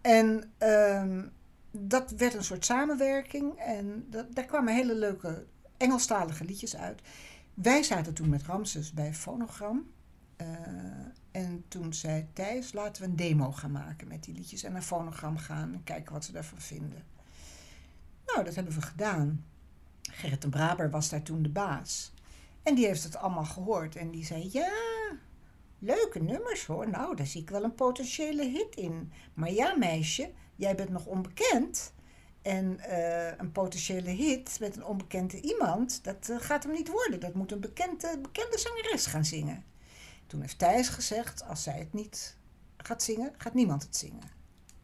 En ehm, dat werd een soort samenwerking. En dat, daar kwamen hele leuke Engelstalige liedjes uit. Wij zaten toen met Ramses bij Fonogram. eh, en toen zei Thijs, laten we een demo gaan maken met die liedjes. En naar Fonogram gaan en kijken wat ze daarvan vinden. Nou, dat hebben we gedaan. Gerrit de Braber was daar toen de baas. En die heeft het allemaal gehoord. En die zei, ja, leuke nummers hoor. Nou, daar zie ik wel een potentiële hit in. Maar ja, meisje, jij bent nog onbekend. En eh, een potentiële hit met een onbekende iemand, dat eh, gaat hem niet worden. Dat moet een bekende, bekende zangeres gaan zingen. Toen heeft Thijs gezegd, als zij het niet gaat zingen, gaat niemand het zingen.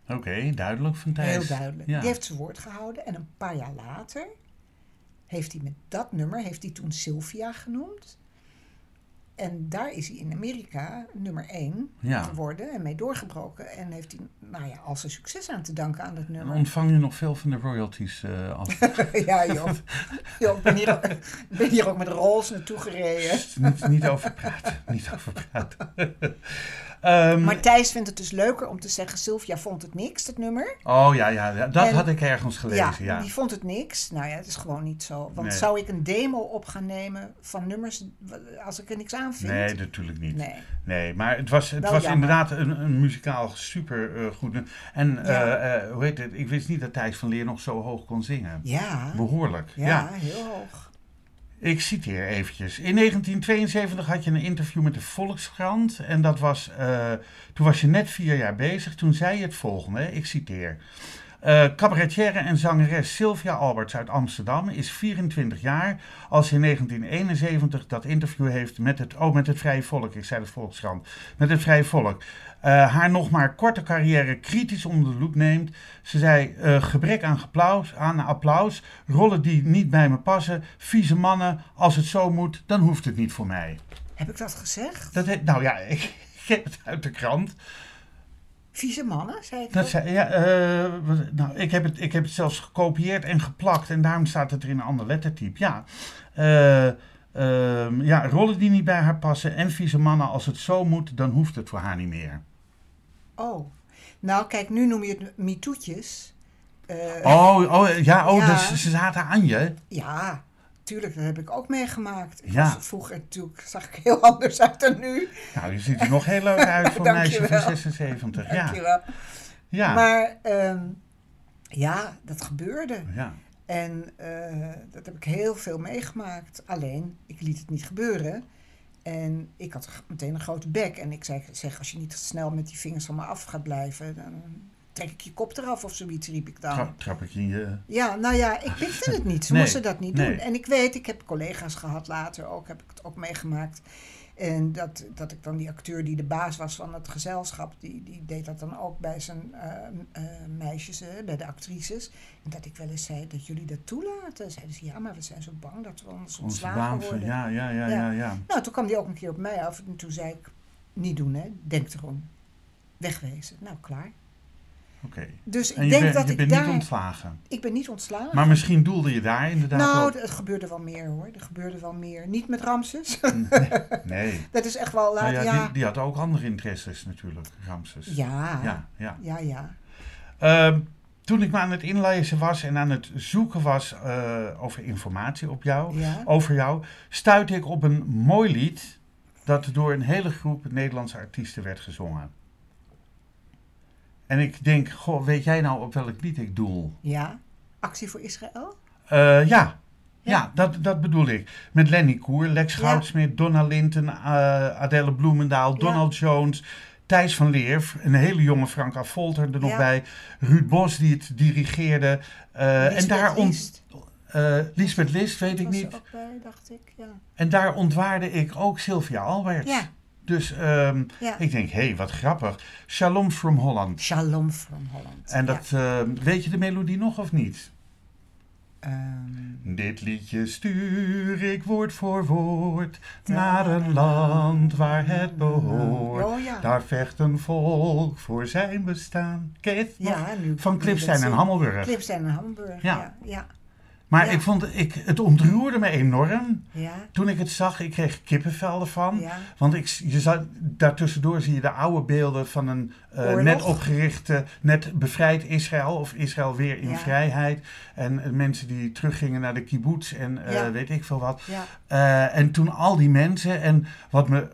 Oké, duidelijk van Thijs.
Heel duidelijk.
Ja.
Die heeft zijn woord gehouden. En een paar jaar later heeft hij met dat nummer, heeft hij toen Sylvia genoemd. En daar is hij in Amerika nummer één
Ja.
geworden en mee doorgebroken. En heeft hij, nou ja, al zijn succes aan te danken aan dat
En
nummer.
ontvang je nog veel van de royalties eh af?
ja, joh. joh ik ben hier, ook- ik ben hier ook met Rolls naartoe gereden.
Sst, niet, niet over praten. Niet over praten. Ehm,
Maar Thijs vindt het dus leuker om te zeggen: Sylvia vond het niks, dat nummer.
oh ja, ja ja, dat
En-
had ik ergens gelezen. Ja,
die vond het niks. Nou ja, het is gewoon niet zo. Want
Nee.
zou ik een demo op gaan nemen van nummers w- als ik er niks aan vind?
Nee, natuurlijk niet.
Nee.
Nee, maar het was, het
Wel
was
jammer.
inderdaad een, een muzikaal super eh, goed. nummer. En
Ja.
eh, eh, hoe heet het? Ik wist niet dat Thijs van Leer nog zo hoog kon zingen.
Ja,
Behoorlijk.
ja,
ja.
heel hoog.
Ik citeer eventjes. In 1972 had je een interview met de Volkskrant. En dat was, eh, toen was je net vier jaar bezig. Toen zei je het volgende, hè, ik citeer. Eh cabaretière en zangeres Sylvia Alberts uit Amsterdam is 24 jaar als ze in 1971 dat interview heeft met het, oh, met het Vrije Volk. Ik zei de Volkskrant. Met het Vrije Volk. Eh, haar nog maar korte carrière kritisch onder de loep neemt. Ze zei eh, gebrek aan applaus, aan applaus, rollen die niet bij me passen, vieze mannen, als het zo moet, dan hoeft het niet voor mij.
Heb ik dat gezegd?
Dat he- nou ja, ik, heb het uit de krant.
Vieze mannen, zei ik.
Dat zei, ja, eh, wat- nou, ik, heb het, ik heb het zelfs gekopieerd en geplakt en daarom staat het er in een ander lettertype. Ja, Eh, ehm, ja rollen die niet bij haar passen en vieze mannen, als het zo moet, dan hoeft het voor haar niet meer.
Oh, nou kijk, nu noem je het mitoetjes. Eh,
Oh, oh ja, oh,
Ja.
Dus, ze zaten aan je.
Ja, tuurlijk, dat heb ik ook meegemaakt. Ik
Ja.
was vroeger natuurlijk zag ik heel anders uit dan nu.
Nou, je ziet er nog heel leuk uit voor een meisje van
Dankjewel.
76. Ja,
Dankjewel.
ja.
Maar ehm, ja, dat gebeurde.
ja.
En eh, dat heb ik heel veel meegemaakt. Alleen, ik liet het niet gebeuren. En ik had g- meteen een grote bek. En ik zei, zeg, als je niet snel met die vingers van me af gaat blijven... dan trek ik je kop eraf of zoiets, riep ik dan.
Tra- trap ik in je.
Ja, nou ja, ik pikte het niet. Ze
Nee,
moesten dat niet
nee.
doen. En ik weet, ik heb collega's gehad later ook, heb ik het ook meegemaakt. En dat, dat ik dan die acteur die de baas was van het gezelschap, die, die deed dat dan ook bij zijn eh, eh, meisjes, eh, bij de actrices. En dat ik wel eens zei dat jullie dat toelaten. Zeiden ze, ja, maar we zijn zo bang dat we ons
Onze
ontslagen
baan. van-
worden.
Ja, ja, ja, ja,
Ja.
ja.
Nou, toen kwam die ook een keer op mij af en toen zei ik, niet doen hè, denk erom. Wegwezen. Nou, klaar.
Oké.
Dus ik
En je,
denk
bent-
dat
je
ik
bent
daar...
niet ontslagen.
Ik ben niet ontslagen.
Maar misschien doelde je daar inderdaad
Nou,
op.
d- het gebeurde wel meer hoor. Er gebeurde wel meer. Niet met Ramses.
Nee.
dat is echt wel laat.
Nou ja,
Ja,
Die, die had ook andere interesses natuurlijk, Ramses.
ja.
Ja,
ja.
ja.
ja,
Ehm, toen ik me aan het inlezen was en aan het zoeken was eh, over informatie op jou,
Ja.
over jou, stuitte ik op een mooi lied dat door een hele groep Nederlandse artiesten werd gezongen. En ik denk, goh, weet jij nou op welk lied ik doel?
Ja. Actie voor Israël?
Eh, ja. Ja, dat, dat bedoel ik. Met Lenny Koer, Lex
Ja.
Goudsmit, Donna Linton, eh, Adele Bloemendaal, Donald Jones, Thijs van Leer, een hele jonge Frank Affolter er nog
Ja.
bij, Ruud Bos die het dirigeerde. eh, en
Lisbeth
daar ont,
List
eh Lisbeth List, weet ik
was er
niet.
ook bij, dacht ik. Ja.
En daar ontwaarde ik ook Sylvia Alberts.
Ja.
Dus ehm,
ja.
ik denk, hé, hey, wat grappig. Shalom from Holland.
Shalom from Holland.
En
Ja.
dat, ehm, weet je de melodie nog of niet?
Ehm,
Dit liedje stuur ik woord voor woord naar een land waar het behoort.
oh ja.
Daar vecht een volk voor zijn bestaan. Ken je het nog?
ja nu,
Van Klipstein en Hammelburg.
Clipstein en Hamburg.
Ja.
Ja. Ja.
Maar
Ja.
ik vond, ik, het ontroerde me enorm
Ja.
toen ik het zag. Ik kreeg kippenvelden van.
Ja.
Want ik, je zag, daartussendoor zie je de oude beelden van een eh,
Oorlog.
net opgerichte, net bevrijd Israël of Israël weer in
Ja.
vrijheid. En eh, mensen die teruggingen naar de kibbutz en eh,
Ja.
weet ik veel wat.
ja.
Eh, en toen al die mensen. En wat me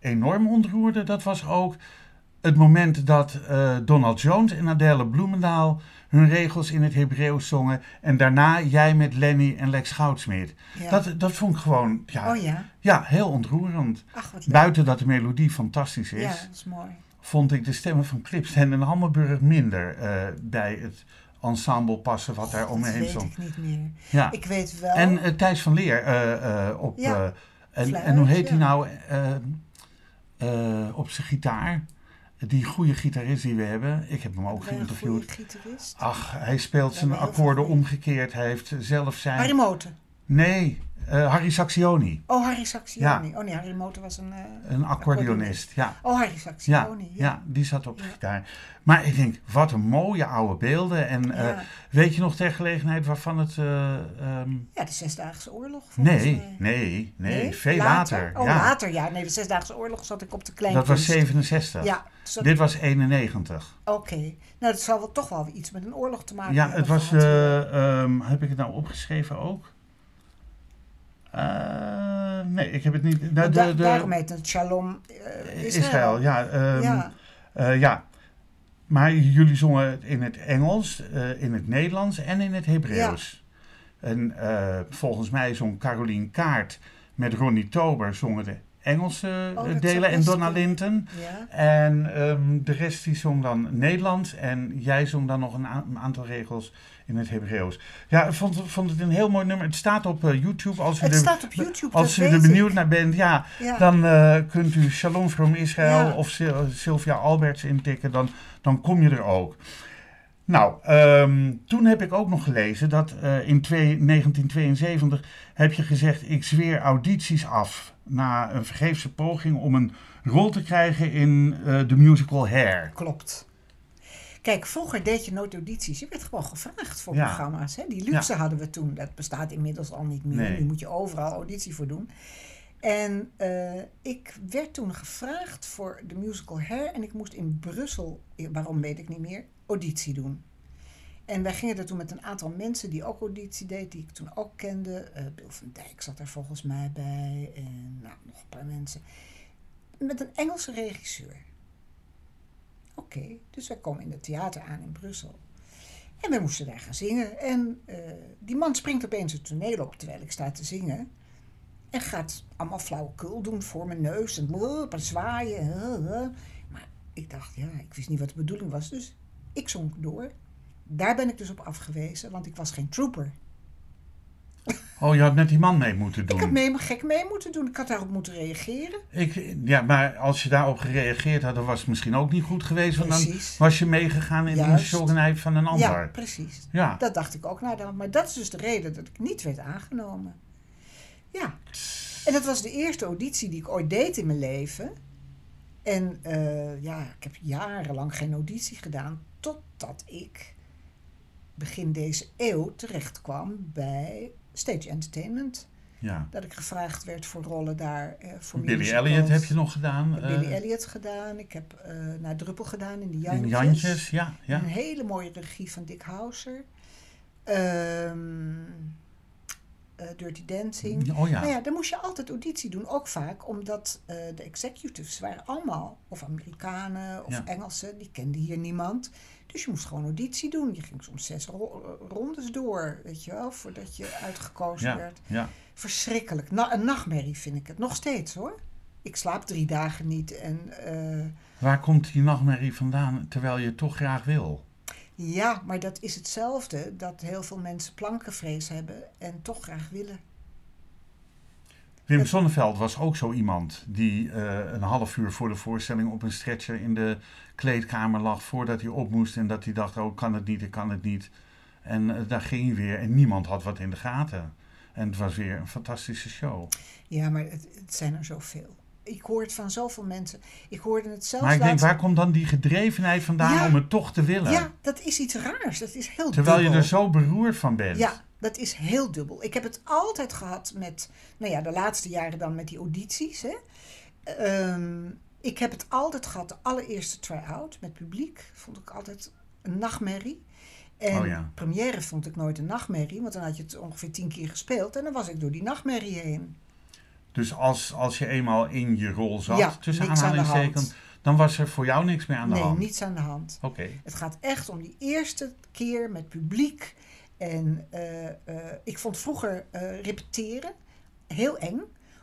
enorm ontroerde, dat was ook het moment dat eh, Donald Jones en Adele Bloemendaal hun regels in het Hebreeuws zongen. En daarna jij met Lenny en Lex Goudsmit.
ja.
Dat, dat vond ik gewoon ja,
oh ja.
ja, heel ontroerend.
Ach, wat leuk.
Buiten dat de melodie fantastisch
Ja,
is,
dat is mooi.
vond ik de stemmen van Clipstein en Hammelburg minder eh, bij het ensemble passen wat daar
God,
om me heen
Oh, dat weet
zong.
ik niet meer.
Ja.
Ik weet wel.
En eh, Thijs van Leer eh, eh, op.
Oh. Ja,
eh, en,
fluit,
en hoe heet hij
ja.
nou? eh, eh, op zijn gitaar. Die goede gitarist die we hebben. Ik heb hem ook
Een goede
geïnterviewd.
gitarist.
Ach, hij speelt
We
zijn
hebben heel veel
akkoorden
goeie.
omgekeerd. Hij heeft zelf zijn.
Harry Moten.
Nee, eh, Harry Saxioni.
Oh, Harry Saxioni. Oh nee, Harry Motor was een... eh,
Een accordeonist, ja.
Oh, Harry
Ja,
Saxioni.
ja. die zat op de gitaar. Maar ik denk, wat een mooie oude beelden. En eh,
Ja.
weet je nog ter gelegenheid waarvan het... eh, ehm,
Ja, de Zesdaagse Oorlog. volgens
nee,
mij.
nee, nee, veel
Later?
later.
Oh,
ja.
later, ja. Nee, de Zesdaagse Oorlog zat ik op de kleine
Dat was 67.
Ja, dus dat-
Dit was 91.
oké. Nou, dat zal wel toch wel iets met een oorlog te maken
Ja,
hebben
het was...
gehad.
eh, ehm, heb ik het nou opgeschreven ook? Eh, nee, ik heb het
Oh,
niet... Nou,
Want da-
de- de-
daarom heet het Shalom eh, Israël.
Israël, ja. ehm,
ja.
Eh, ja, maar jullie zongen het in het Engels, eh, in het Nederlands en in het Hebreeuws. En eh, volgens mij zong Carolien Kaart met Ronnie Tober zongen de Engelse
Oh,
eh,
dat zou
delen en
best
Donna
kunnen.
Linton.
ja.
En ehm, de rest die zong dan Nederlands en jij zong dan nog een a- een aantal regels in het Hebreeuws. Ja, ik vond, vond het een heel mooi nummer. Het staat op eh, YouTube als u
Het
er,
staat op YouTube,
als
dat
u er
weet
benieuwd
ik.
naar bent. Ja,
Ja.
dan eh, kunt u Shalom from Israël
Ja.
of Sil- Sylvia Alberts intikken, dan, dan kom je er ook. Nou, ehm, toen heb ik ook nog gelezen dat eh, in twee- 1972 heb je gezegd: ik zweer audities af na een vergeefse poging om een rol te krijgen in eh, de musical Hair.
Klopt. Kijk, vroeger deed je nooit audities. Je werd gewoon gevraagd voor
Ja.
programma's. Hè? Die luxe hadden we toen. Dat bestaat inmiddels al niet meer.
Nee.
Nu moet je overal auditie voor doen. En eh, ik werd toen gevraagd voor de musical Hair. En ik moest in Brussel, eh, waarom weet ik niet meer, auditie doen. En wij gingen er toen met een aantal mensen die ook auditie deed, die ik toen ook kende. Eh Bill van Dijk zat er volgens mij bij. En nou, nog een paar mensen. Met een Engelse regisseur. Oké, dus wij komen in het theater aan in Brussel. En wij moesten daar gaan zingen. En eh, die man springt opeens het toneel op terwijl ik sta te zingen. En gaat allemaal flauwekul doen voor mijn neus. En brrr, en zwaaien. eh, eh. Maar ik dacht, ja, ik wist niet wat de bedoeling was. Dus ik zonk door. Daar ben ik dus op afgewezen, want ik was geen trooper.
Oh, je had met die man mee moeten doen.
Ik had mee, gek mee moeten doen. Ik had daarop moeten reageren.
Ik- ja, maar als je daarop gereageerd had, dan was het misschien ook niet goed geweest, want dan
Precies.
was je meegegaan in de
Juist.
schuldenheid van een ander.
Ja, precies.
ja.
Dat dacht ik ook naderhand. Maar dat is dus de reden dat ik niet werd aangenomen. Ja. En dat was de eerste auditie die ik ooit deed in mijn leven. En eh, ja, ik heb jarenlang geen auditie gedaan. Totdat ik begin deze eeuw terechtkwam bij Stage Entertainment.
ja.
Dat ik gevraagd werd voor rollen daar. eh, voor
Billy
musicals.
Elliot heb je nog gedaan.
Ik heb Billy
eh,
Elliot gedaan. Ik heb eh, naar Druppel gedaan in de
in
Jantjes.
Jantjes, ja. ja.
Een hele mooie regie van Dick Houser. Ehm, eh, Dirty Dancing.
Oh ja.
Nou ja, dan moest je altijd auditie doen, ook vaak, omdat eh, de executives waren allemaal, of Amerikanen of
Ja.
Engelsen, die kenden hier niemand. Dus je moest gewoon auditie doen. Je ging soms zes ro- rondes door, weet je wel, voordat je uitgekozen
ja,
werd.
ja.
Verschrikkelijk. Na een nachtmerrie vind ik het. Nog steeds hoor. Ik slaap drie dagen niet en... eh,
Waar komt die nachtmerrie vandaan terwijl je het toch graag wil?
Ja, maar dat is hetzelfde dat heel veel mensen plankenvrees hebben en toch graag willen.
Wim
Het-
Sonneveld was ook zo iemand die eh, een half uur voor de voorstelling op een stretcher in de kleedkamer lag voordat hij op moest en dat hij dacht, oh ik kan het niet, ik kan het niet. En eh, daar ging hij weer en niemand had wat in de gaten. En het was weer een fantastische show.
Ja, maar het, het zijn er zoveel. Ik hoor het van zoveel mensen. Ik hoorde het zelfs
Maar ik denk,
laatst-
waar komt dan die gedrevenheid vandaan
Ja.
om het toch te willen?
Ja, dat is iets raars. Dat is heel
Terwijl je dus-
dubbel.
er zo beroerd van bent.
Ja, dat is heel dubbel. Ik heb het altijd gehad met, nou ja, de laatste jaren dan met die audities. Hè. Ehm, ik heb het altijd gehad, de allereerste try-out met publiek, vond ik altijd een nachtmerrie. En
Oh ja.
première vond ik nooit een nachtmerrie, want dan had je het ongeveer tien keer gespeeld en dan was ik door die nachtmerrie heen.
Dus als, als je eenmaal in je rol zat,
Ja,
tussen
niks aan de
aanhalingstekens,
hand.
dan was er voor jou niks meer aan de
Nee,
hand.
niets aan de hand.
Oké.
Het gaat echt om die eerste keer met publiek. En eh, eh, ik vond vroeger eh, repeteren heel eng,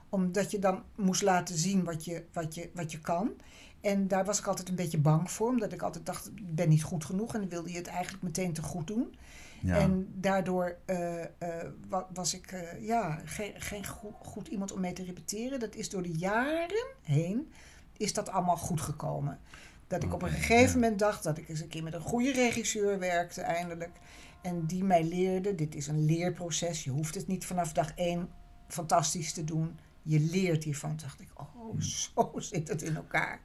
omdat je dan moest laten zien wat je, wat, je, wat je kan. En daar was ik altijd een beetje bang voor, omdat ik altijd dacht, ik ben niet goed genoeg en dan wilde je het eigenlijk meteen te goed doen.
Ja.
En daardoor eh, eh, wa- was ik eh, ja, geen, geen goe- goed iemand om mee te repeteren. Dat is door de jaren heen, is dat allemaal goed gekomen. Dat ik op een gegeven moment dacht dat ik eens een keer met een goede regisseur werkte eindelijk. En die mij leerde, dit is een leerproces. Je hoeft het niet vanaf dag één fantastisch te doen. Je leert hiervan. Toen dacht ik, oh, zo zit het in elkaar.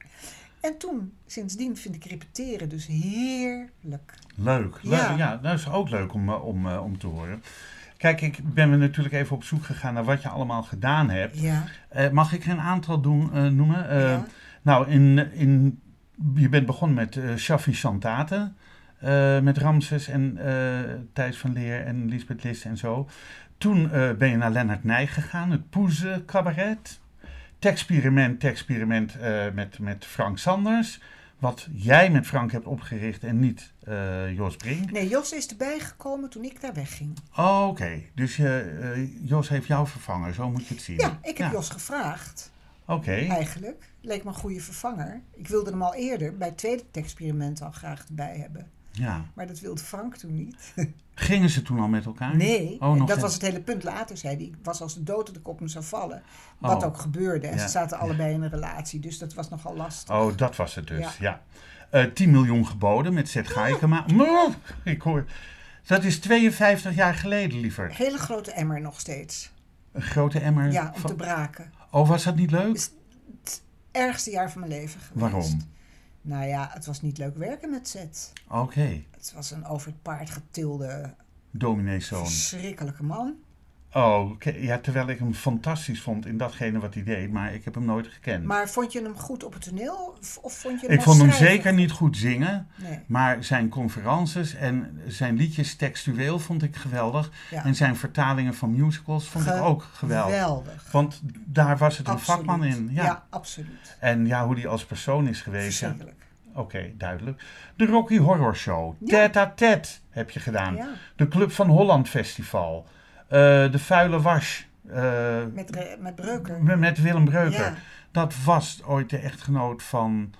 En toen, sindsdien vind ik repeteren dus heerlijk.
Leuk. leuk. Ja.
Ja.
dat is ook leuk om, eh, om, eh, om te horen. Kijk, ik ben me natuurlijk even op zoek gegaan naar wat je allemaal gedaan hebt.
Ja,
Eh, mag ik er een aantal doen, eh, noemen? Eh,
Ja.
Nou, in, in, je bent begonnen met eh Shafi Chantate. eh, met Ramses en eh, Thijs van Leer en Lisbeth List en zo. Toen eh, ben je naar Lennart Nij gegaan, het Poeze Cabaret. Texperiment, Texperiment eh, met, met Frank Sanders. Wat jij met Frank hebt opgericht en niet eh, Jos Brink.
nee, Jos is erbij gekomen toen ik daar wegging.
Oh, Oké, dus je, eh, Jos heeft jou vervangen, zo moet je het zien.
Ja, ik heb Jos gevraagd.
Oké.
Eigenlijk leek me een goede vervanger. Ik wilde hem al eerder bij het tweede experiment al graag erbij hebben.
Ja.
Maar dat wilde Frank toen niet.
Gingen ze toen al met elkaar?
Nee,
Oh, nog
dat
niet.
was het hele punt. Later zei hij, ik was als de dood dat ik op hem zou vallen.
Oh.
Wat ook gebeurde. En
Ja.
ze zaten allebei in een relatie, dus dat was nogal lastig.
Oh, dat was het dus, ja. Eh 10 miljoen geboden met Zet Gaikema. Maar, Ik hoor... Dat is 52 jaar geleden, liever.
Hele grote emmer nog steeds.
Een grote emmer.
Ja, om
van-
te braken.
Oh, was dat niet leuk?
Is- Het ergste jaar van mijn leven geweest.
Waarom?
Nou ja, het was niet leuk werken met Zet.
Oké,
Het was een over het paard getilde,
domineeszoon.
verschrikkelijke man.
Oh, oké. ja, terwijl ik hem fantastisch vond in datgene wat hij deed, maar ik heb hem nooit gekend.
Maar vond je hem goed op het toneel? Of of vond je hem
ik
als
vond hem
schrijver?
zeker niet goed zingen,
Nee.
maar zijn conferences en zijn liedjes textueel vond ik geweldig.
Ja.
En zijn vertalingen van musicals vond ik ook geweldig.
Geweldig.
Want daar was het een
Absoluut.
vakman in. Ja.
absoluut.
En ja, hoe die als persoon is geweest. ja.
Verschrikkelijk.
Oké, duidelijk. De Rocky Horror Show. Tête à tête heb je gedaan.
Ja.
De Club van Holland Festival. Eh, de Vuile Was. eh,
Met, Re- met Breuker.
met, met Willem Breuker.
Ja.
Dat was ooit de echtgenoot van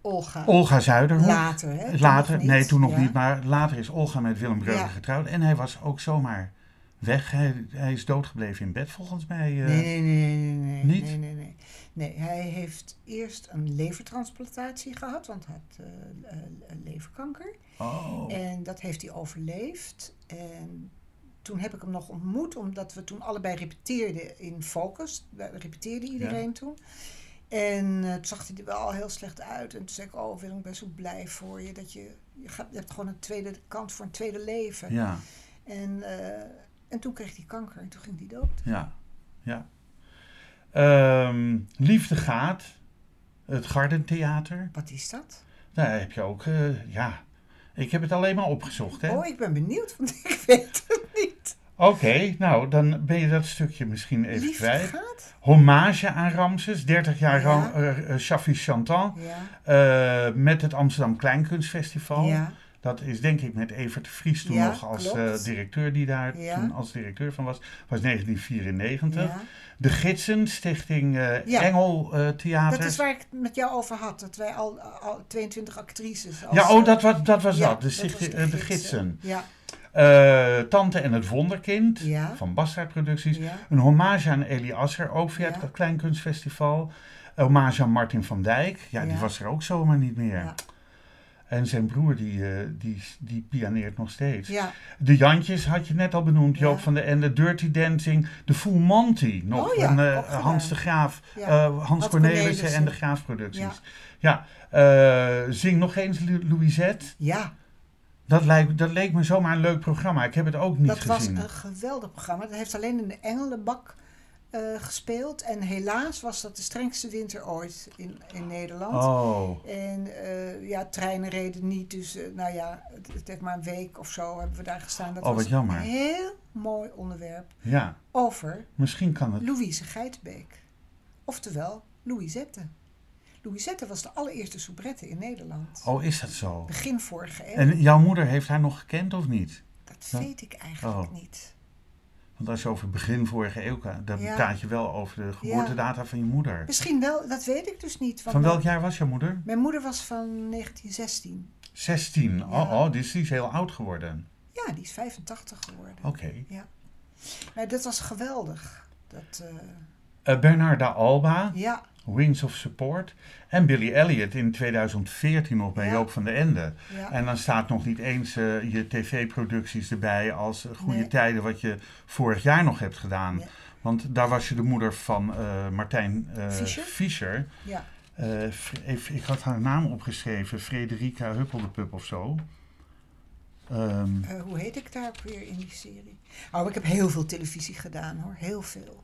Olga.
Olga Zuiderhoek.
Later, hè? Toen
Later,
nog niet.
nee, toen nog
Ja.
niet. Maar later is Olga met Willem Breuker
Ja.
getrouwd. En hij was ook zomaar weg. Hij, hij is doodgebleven in bed, volgens mij. eh.
Nee, nee, nee, nee, nee,
Niet?
nee, nee, nee. Nee, hij heeft eerst een levertransplantatie gehad, want hij had eh, eh, leverkanker.
Oh.
En dat heeft hij overleefd. En toen heb ik hem nog ontmoet, omdat we toen allebei repeteerden in Focus. We repeteerde iedereen toen. En eh, toen zag hij er wel heel slecht uit. En toen zei ik, oh Willem, ik ben zo blij voor je. Dat je, je, gaat, je hebt gewoon een tweede kans voor een tweede leven.
Ja,
En, eh, en toen kreeg hij kanker en toen ging hij dood.
ja, ja. Ehm, Liefde gaat. Het Gardentheater.
Wat is dat?
Daar heb je ook, eh, ja. Ik heb het alleen maar opgezocht, hè.
Oh, ik ben benieuwd, want ik weet het niet.
Oké, nou, dan ben je dat stukje misschien even
Liefde
kwijt.
gaat?
Hommage aan Ramses, 30 jaar
Ja.
Ram, eh, eh, Shafi Chantal.
Ja.
eh, met het Amsterdam Kleinkunstfestival.
Ja.
Dat is denk ik met Evert de Vries toen
Ja,
nog als
klopt.
eh, directeur, die daar
Ja.
toen als directeur van was. was 1994.
ja.
De Gidsen, Stichting eh,
Ja.
Engel eh, Theater.
Dat is waar ik het met jou over had, dat wij al, al 22 actrices. Als,
Ja, oh, dat was dat. Was
eh, Ja,
dat. De,
was
stichting,
de
eh, de
gidsen.
Gidsen.
Ja,
Eh, Tante en het Wonderkind
Ja.
van Bastard Producties.
Ja.
Een hommage aan Elie Asser, ook via
Ja.
het Kleinkunstfestival. Een hommage aan Martin van Dijk. Ja, die
Ja.
was er ook zomaar niet meer.
Ja.
En zijn broer, die, eh, die, die pianeert nog steeds.
ja.
De Jantjes had je net al benoemd. Joop
Ja.
van der Ende, Dirty Dancing. De Full Monty nog.
Oh ja,
van, eh,
ook gedaan.
Hans de Graaf,
Ja.
eh, Hans
Hans
Cornelissen
Cornelissen.
en de Graaf Producties. Ja, eh, zing nog eens Lu- Louisette.
ja.
Dat, lijkt, dat leek me zomaar een leuk programma. Ik heb het ook niet
dat was
gezien.
een geweldig programma. Dat heeft alleen in de Engelenbak eh, gespeeld. En helaas was dat de strengste winter ooit in, in Nederland.
Oh,
En eh, ja, treinen reden niet. Dus eh, nou ja, het, het heeft maar een week of zo hebben we daar gestaan. Dat
Oh, wat
was
jammer.
een heel mooi onderwerp
ja.
over
Misschien kan het.
Louise Geitbeek. Oftewel Louisette. Louisette was de allereerste soubrette in Nederland.
Oh, is dat zo?
Begin vorige eeuw.
En jouw moeder heeft haar nog gekend of niet?
dat weet ik eigenlijk
Oh.
niet.
Want als je over begin vorige eeuw gaat, dan
Ja.
praat je wel over de geboortedata van je moeder.
Misschien wel, dat weet ik dus niet. want
Van welk
mijn-
jaar was jouw moeder?
Mijn moeder was van 1916.
16. Oh,
Ja.
oh, dus die is heel oud geworden.
Ja, die is 85 geworden.
Oké.
Ja. Maar dat was geweldig. Dat, eh,
Eh, Bernarda Alba,
ja,
Wings of Support. En Billy Elliot in 2014 nog bij
Ja.
Joop van de Ende.
Ja.
En dan staat nog niet eens eh, je tv-producties erbij als eh, Goede
Nee.
Tijden, wat je vorig jaar nog hebt gedaan.
Nee.
Want daar was je de moeder van eh, Martijn eh,
Fischer?
Fischer.
ja.
Eh, Fr- even- ik had haar naam opgeschreven, Frederica Huppeldepup of zo. Ehm,
Eh, hoe heet ik daar ook weer in die serie? Oh, ik heb heel veel televisie gedaan hoor. Heel veel.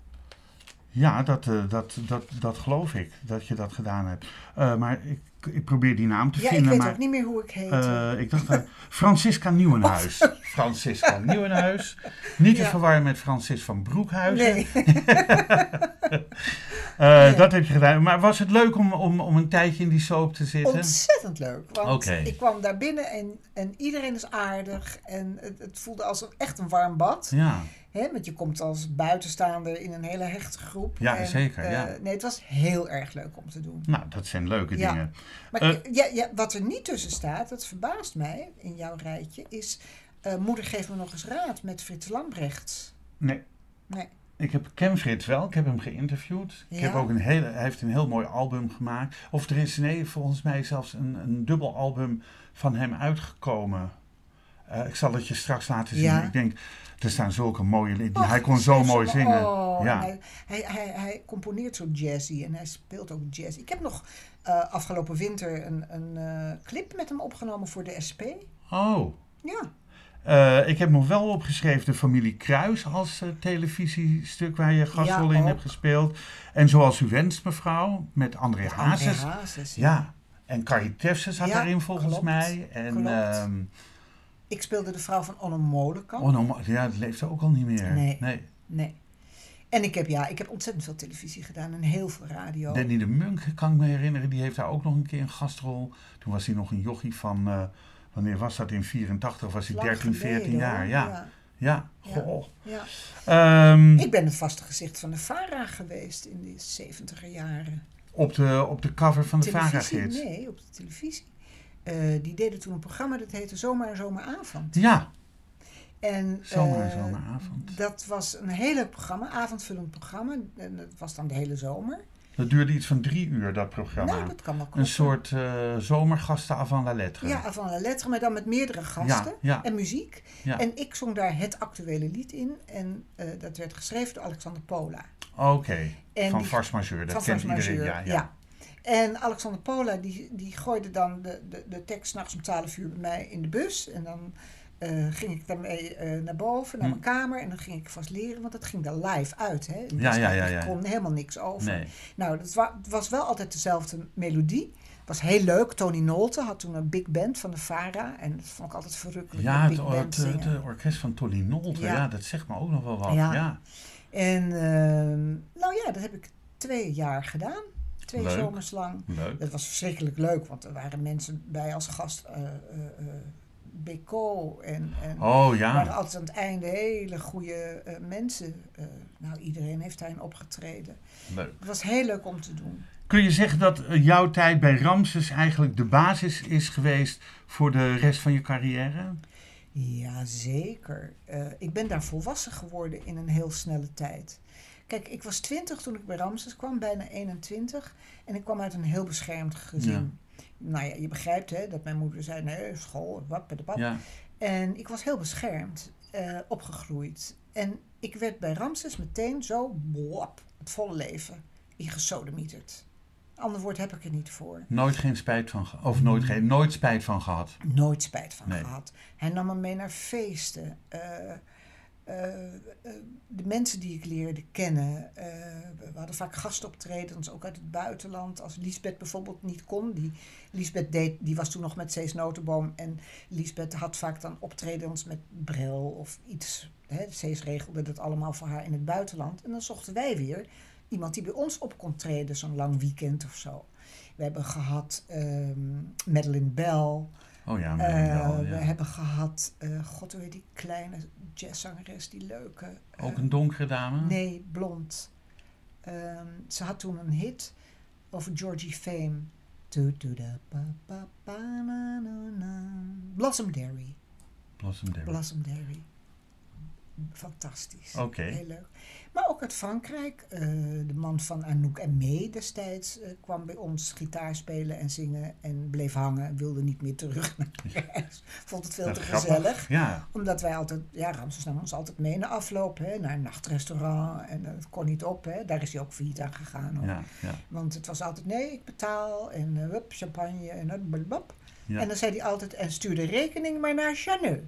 ja, dat, eh, dat, dat, dat geloof ik, dat je dat gedaan hebt. Eh, maar ik, ik probeer die naam te
Ja, ik
vinden.
weet
maar,
ook niet meer hoe ik heet.
eh, ik dacht, eh, Francisca Nieuwenhuis. Francisca Nieuwenhuis. Niet te
Ja.
verwarren met Francis van Broekhuizen.
nee.
Eh,
Nee.
Dat heb je gedaan. Maar was het leuk om, om, om een tijdje in die soap te zitten?
Ontzettend leuk. Want
Oké.
ik kwam daar binnen en, en iedereen is aardig. En het, het voelde als een, echt een warm bad.
Ja,
Hè, want je komt als buitenstaander in een hele hechte groep.
Ja,
En,
zeker,
eh,
ja.
Nee, het was heel erg leuk om te doen.
nou, dat zijn leuke
Ja.
dingen.
Maar
Eh.
ja, ja, wat er niet tussen staat, dat verbaast mij in jouw rijtje, is... eh, moeder geeft me nog eens raad met Frits Lambrechts.
Nee.
Nee.
Ik heb, ken Frits wel, ik heb hem geïnterviewd. Ik
Ja.
heb ook een hele, hij heeft een heel mooi album gemaakt. Of er is nee, volgens mij zelfs een, een dubbel album van hem uitgekomen. Eh, ik zal het je straks laten zien.
Ja.
Ik denk, er staan zulke mooie liedjes.
Och,
hij kon zo
schrijf
mooi
ze-
zingen.
oh,
ja.
en hij, hij, hij, hij componeert zo jazzy en hij speelt ook jazz. Ik heb nog eh, afgelopen winter een, een eh, clip met hem opgenomen voor de SP.
Oh.
Ja,
Eh, ik heb nog wel opgeschreven de familie Kruis als eh, televisiestuk waar je gastrol
Ja,
in
ook.
hebt gespeeld. En zoals u wenst mevrouw, met André
André
Hazes.
Hazes.
Ja, en Carrie Tefse zat
Ja,
daarin volgens
klopt.
mij. En,
Klopt.
ehm,
Ik speelde de vrouw van Anne Molenkamp.
Oh, nou, maar- ja, dat leeft ook al niet meer.
Nee. Nee. En ik heb, ja, ik heb ontzettend veel televisie gedaan en heel veel radio.
Danny de Munk, kan ik me herinneren, die heeft daar ook nog een keer een gastrol. Toen was hij nog een jochie van, eh, wanneer was dat, in 84 was hij
Lang
13,
geleden,
14 jaar.
hoor.
Ja, ja.
Ja.
Goh.
ja.
Ehm,
Ik ben het vaste gezicht van de VARA geweest in de 70er jaren.
op, de, op de cover van de
televisie?
Varagids.
Nee, op de televisie. Eh, die deden toen een programma dat heette Zomaar en Zomeravond.
Ja,
En,
zomaar,
eh,
zomeravond.
Dat was een hele programma, avondvullend programma. En dat was dan de hele zomer.
Dat duurde iets van drie uur, dat programma.
Nou, dat kan wel kloppen.
een soort eh zomergasten avant la lettre.
Ja, van de letteren, maar dan met meerdere gasten
ja.
en muziek.
Ja.
En ik zong daar het actuele lied in. En eh, dat werd geschreven door Alexander Pola.
Oké,
En
van
die-
Vars Majeur, dat
van
kent
Frans
iedereen.
Majeur,
ja. ja.
En Alexander Pola die, die gooide dan de, de, de tekst s'nachts om 12 uur bij mij in de bus. En dan eh, ging ik daarmee eh, naar boven,
Hm.
naar mijn kamer. En dan ging ik vast leren, want dat ging daar live uit. Hè? In
Ja, ja, ja,
Ik
ja.
kon helemaal niks over.
Nee.
Nou, dat wa- het was wel altijd dezelfde melodie. Het was heel leuk. Tony Nolte had toen een big band van de Vara. En dat vond ik altijd verrukkelijk.
Ja,
met
het,
big band
het, het,
zingen.
eh, orkest van Tolly Nolte, ja.
Ja.
dat zegt me ook nog wel wat. Ja.
Ja. En ehm, nou ja, dat heb ik twee jaar gedaan. Twee
Leuk.
zomers lang.
Leuk.
Dat was verschrikkelijk leuk, want er waren mensen bij als gast. eh eh, eh, Beko en, en
Oh
er waren
ja,
altijd aan het einde hele goede eh, mensen. Eh, nou, iedereen heeft daarin opgetreden.
leuk.
Het was heel leuk om te doen.
Kun je zeggen dat eh, jouw tijd bij Ramses eigenlijk de basis is geweest voor de rest van je carrière?
Ja, zeker. Eh, ik ben daar volwassen geworden in een heel snelle tijd. Kijk, ik was 20 toen ik bij Ramses kwam, bijna 21. En ik kwam uit een heel beschermd gezin. Nou ja, je begrijpt hè, dat mijn moeder zei, nee, school, wappadepap.
Ja,
En ik was heel beschermd, eh, opgegroeid. En ik werd bij Ramses meteen zo, blop, het volle leven, ingesodemieterd. Ander woord heb ik er niet voor.
nooit geen spijt van gehad. Of nooit, geen, nooit spijt van gehad.
Nooit spijt van
Nee.
gehad. Hij nam me mee naar feesten. Eh, eh, eh, de mensen die ik leerde kennen. eh, we hadden vaak gastoptredens, ook uit het buitenland. Als Lisbeth bijvoorbeeld niet kon. Die, Lisbeth deed, die was toen nog met Cees Notenboom. En Lisbeth had vaak dan optredens met bril of iets. Hè. Cees regelde dat allemaal voor haar in het buitenland. En dan zochten wij weer iemand die bij ons op kon treden, zo'n lang weekend of zo. We hebben gehad ehm Madeleine Bell.
Oh ja,
Eh,
maar wel,
We
ja.
hebben gehad, eh, god hoe heet die kleine jazzzangeres, die leuke. eh,
Ook een donkere dame?
Nee, blond. Ehm, ze had toen een hit over Georgie Fame. Tu- tu- da- pa- pa- pa- na- na- na. Blossom Dairy.
Blossom Derry.
Blossom Dairy. fantastisch.
Oké.
Heel leuk. Maar ook uit Frankrijk. eh, de man van Anouk en May destijds eh, kwam bij ons gitaar spelen en zingen en bleef hangen en wilde niet meer terug naar Parijs. Vond het veel
Dat
te
is grappig.
gezellig.
Ja,
Omdat wij altijd, ja, Ramses nam ons altijd mee naar afloop, hè, naar een nachtrestaurant. En dat kon niet op, hè. daar is hij ook failliet aan gegaan. hoor.
ja, ja.
Want het was altijd, nee, ik betaal en eh, hup, champagne en dat, blablab.
Ja.
En dan zei hij altijd, en stuur de rekening maar naar Chaneu.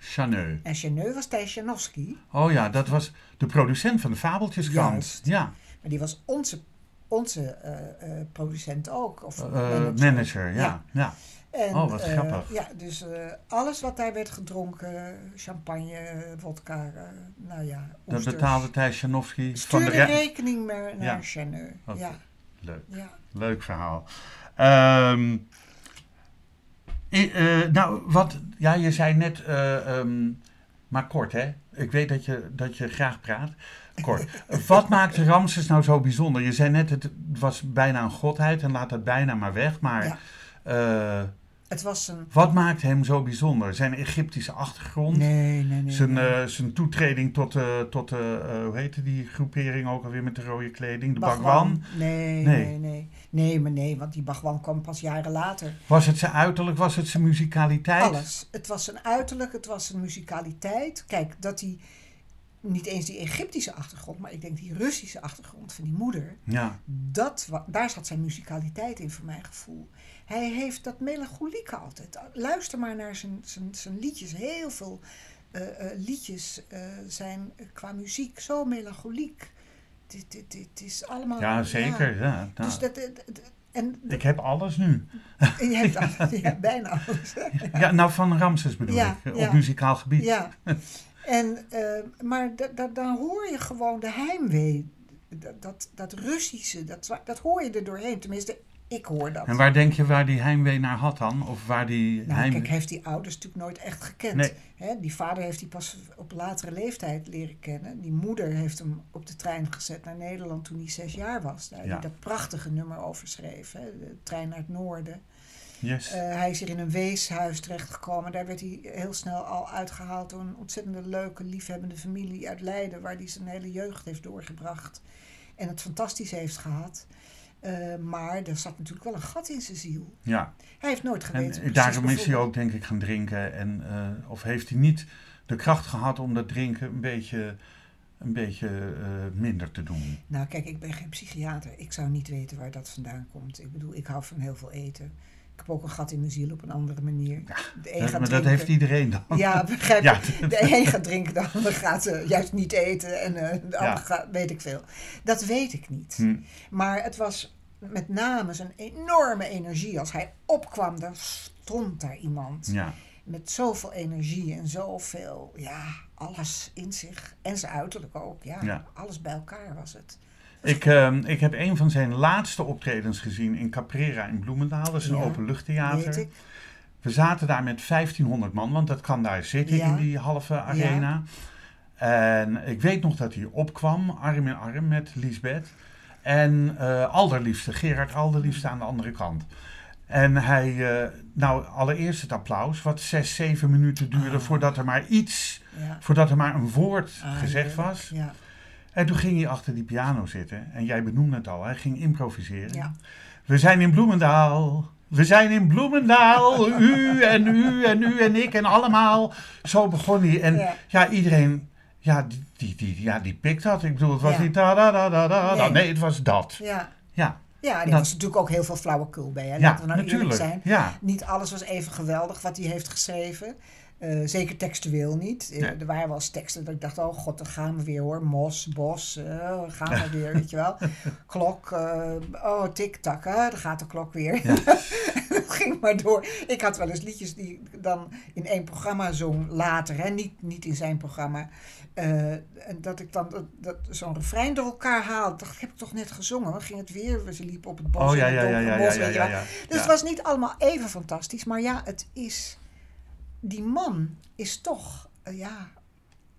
Chaneu.
En Chaneu was Thijs Janowski,
Oh ja, dat was de producent van de Fabeltjeskrant.
Juist.
Ja,
maar die was onze, onze eh, eh, producent ook. Of
eh,
manager.
manager, ja. ja.
En,
Oh, wat
eh,
grappig.
Ja, dus eh, alles wat daar werd gedronken, champagne, wodka, eh, nou ja,
Dat
oesters.
betaalde Thijs Janowski van
Stuur
de
de
re-
rekening maar naar
Ja.
Chaneu.
Oké.
Ja,
Leuk.
ja.
Leuk verhaal. Ehm, i- eh, nou, wat, ja, je zei net, eh, ehm, maar kort hè. Ik weet dat je, dat je graag praat. Kort. Wat maakte Ramses nou zo bijzonder? Je zei net, het was bijna een godheid en laat dat bijna maar weg. Maar
Ja.
eh,
Het was een...
wat maakt hem zo bijzonder? Zijn Egyptische achtergrond?
Nee, nee, nee.
Zijn,
nee.
eh, zijn toetreding tot, eh, tot eh, eh, hoe heette die groepering ook alweer met de rode kleding? De Bagwan.
Nee,
Nee.
nee, nee, nee. Nee, maar nee, want die Bagwan kwam pas jaren later.
Was het zijn uiterlijk? Was het zijn muzikaliteit?
Alles. Het was zijn uiterlijk, het was zijn muzikaliteit. Kijk, dat hij niet eens die Egyptische achtergrond, maar ik denk die Russische achtergrond van die moeder,
Ja,
dat, wa- daar zat zijn muzikaliteit in, voor mijn gevoel. Hij heeft dat melancholieke altijd. Luister maar naar zijn, zijn, zijn liedjes. Heel veel eh, eh, liedjes eh, zijn qua muziek zo melancholiek. Dit, dit, dit is allemaal.
ja zeker. Ja. ja.
Oh, Dus dat, dat- dat- en
Ik heb alles nu.
je hebt al- ja, bijna alles. hè?
Ja, nou, van Ramses bedoel
Ja,
ik, eh, op
ja.
muzikaal gebied.
Ja. En, eh, maar da, da- dan hoor je gewoon de heimwee. Dat, dat, dat Russische, dat, zwa- dat hoor je er doorheen. Tenminste, ik hoor dat.
En waar denk je waar die heimwee naar had dan? Of waar die
Nou,
heimwee...
kijk, hij heeft die ouders natuurlijk nooit echt gekend.
Nee.
Hè, die vader heeft hij pas op latere leeftijd leren kennen. Die moeder heeft hem op de trein gezet naar Nederland toen hij zes jaar was. Daar
Ja.
die dat prachtige nummer over schreef. Hè, de trein naar het noorden.
Yes.
Eh, hij is hier in een weeshuis terechtgekomen. Daar werd hij heel snel al uitgehaald door een ontzettende leuke, liefhebbende familie uit Leiden, waar hij zijn hele jeugd heeft doorgebracht en het fantastisch heeft gehad. Eh, maar er zat natuurlijk wel een gat in zijn ziel.
ja.
Hij heeft nooit geweten.
En eh,
precies
daarom is hij
bijvoorbeeld-
ook, denk ik, gaan drinken. En, eh, of heeft hij niet de kracht gehad om dat drinken een beetje, een beetje eh, minder te doen?
Nou, kijk, ik ben geen psychiater. Ik zou niet weten waar dat vandaan komt. Ik bedoel, ik hou van heel veel eten. Ik heb ook een gat in mijn ziel op een andere manier. De een
Dat- maar
gaat
dat
drinken.
heeft iedereen dan.
Ja, begrijp
Ja.
je. De een gaat drinken, de ander gaat eh, juist niet eten en eh, de
Ja.
ander gaat, weet ik veel. Dat weet ik niet.
Hm.
Maar het was met name zijn enorme energie. Als hij opkwam, dan stond daar iemand
Ja,
met zoveel energie en zoveel, ja, alles in zich. En zijn uiterlijk ook, ja.
Ja.
Alles bij elkaar was het.
ik, ehm, ik heb een van zijn laatste optredens gezien in Caprera in Bloemendaal. Dat is een
Ja,
openluchttheater.
Weet ik.
We zaten daar met 1500 man, want dat kan daar zitten
Ja.
in die halve arena. En ik weet nog dat hij opkwam, arm in arm met Lisbeth. En eh alderliefste, Gerard Alderliefste aan de andere kant. En hij, eh, nou allereerst het applaus, wat zes, zeven minuten duurde
Ah.
voordat er maar iets,
Ja.
voordat er maar een woord
Ah,
gezegd
heerlijk.
was.
Ja.
En toen ging hij achter die piano zitten. En jij benoemde het al, hij ging improviseren.
Ja.
We zijn in Bloemendaal. We zijn in Bloemendaal. U en u en u en ik en allemaal. Zo begon hij. En ja,
Ja.
iedereen. Ja, die, die, die, ja, die pikt dat. Ik bedoel, het was
Ja.
niet da da da da da. Nee.
Nee.
het was dat.
ja.
Ja,
Ja, er
Dat-
was natuurlijk ook heel veel flauwekul bij. Hè?
Nou. ja
Laten we nou
natuurlijk.
eerlijk zijn.
Ja,
Niet alles was even geweldig wat hij heeft geschreven. Eh, zeker textueel niet. Eh,
Nee.
Er waren wel eens teksten dat ik dacht, oh god, dan gaan we weer hoor. Mos, bos, eh, gaan we weer, weet je wel. Klok, eh, oh tik-tak, hè, daar gaat de klok weer.
Ja.
dat ging maar door. Ik had wel eens liedjes die ik dan in één programma zong later, hè, niet, niet in zijn programma. Eh, en dat ik dan dat, dat zo'n refrein door elkaar haalde. Dacht, ik, heb ik toch net gezongen? Dan ging het weer, we liepen op het bos.
oh ja,
in
ja,
het
ja,
donkere
ja, ja,
bos,
ja,
weet je
ja,
wel.
ja.
Dus het was niet allemaal even fantastisch, maar ja, het is. Die man is toch, eh, ja,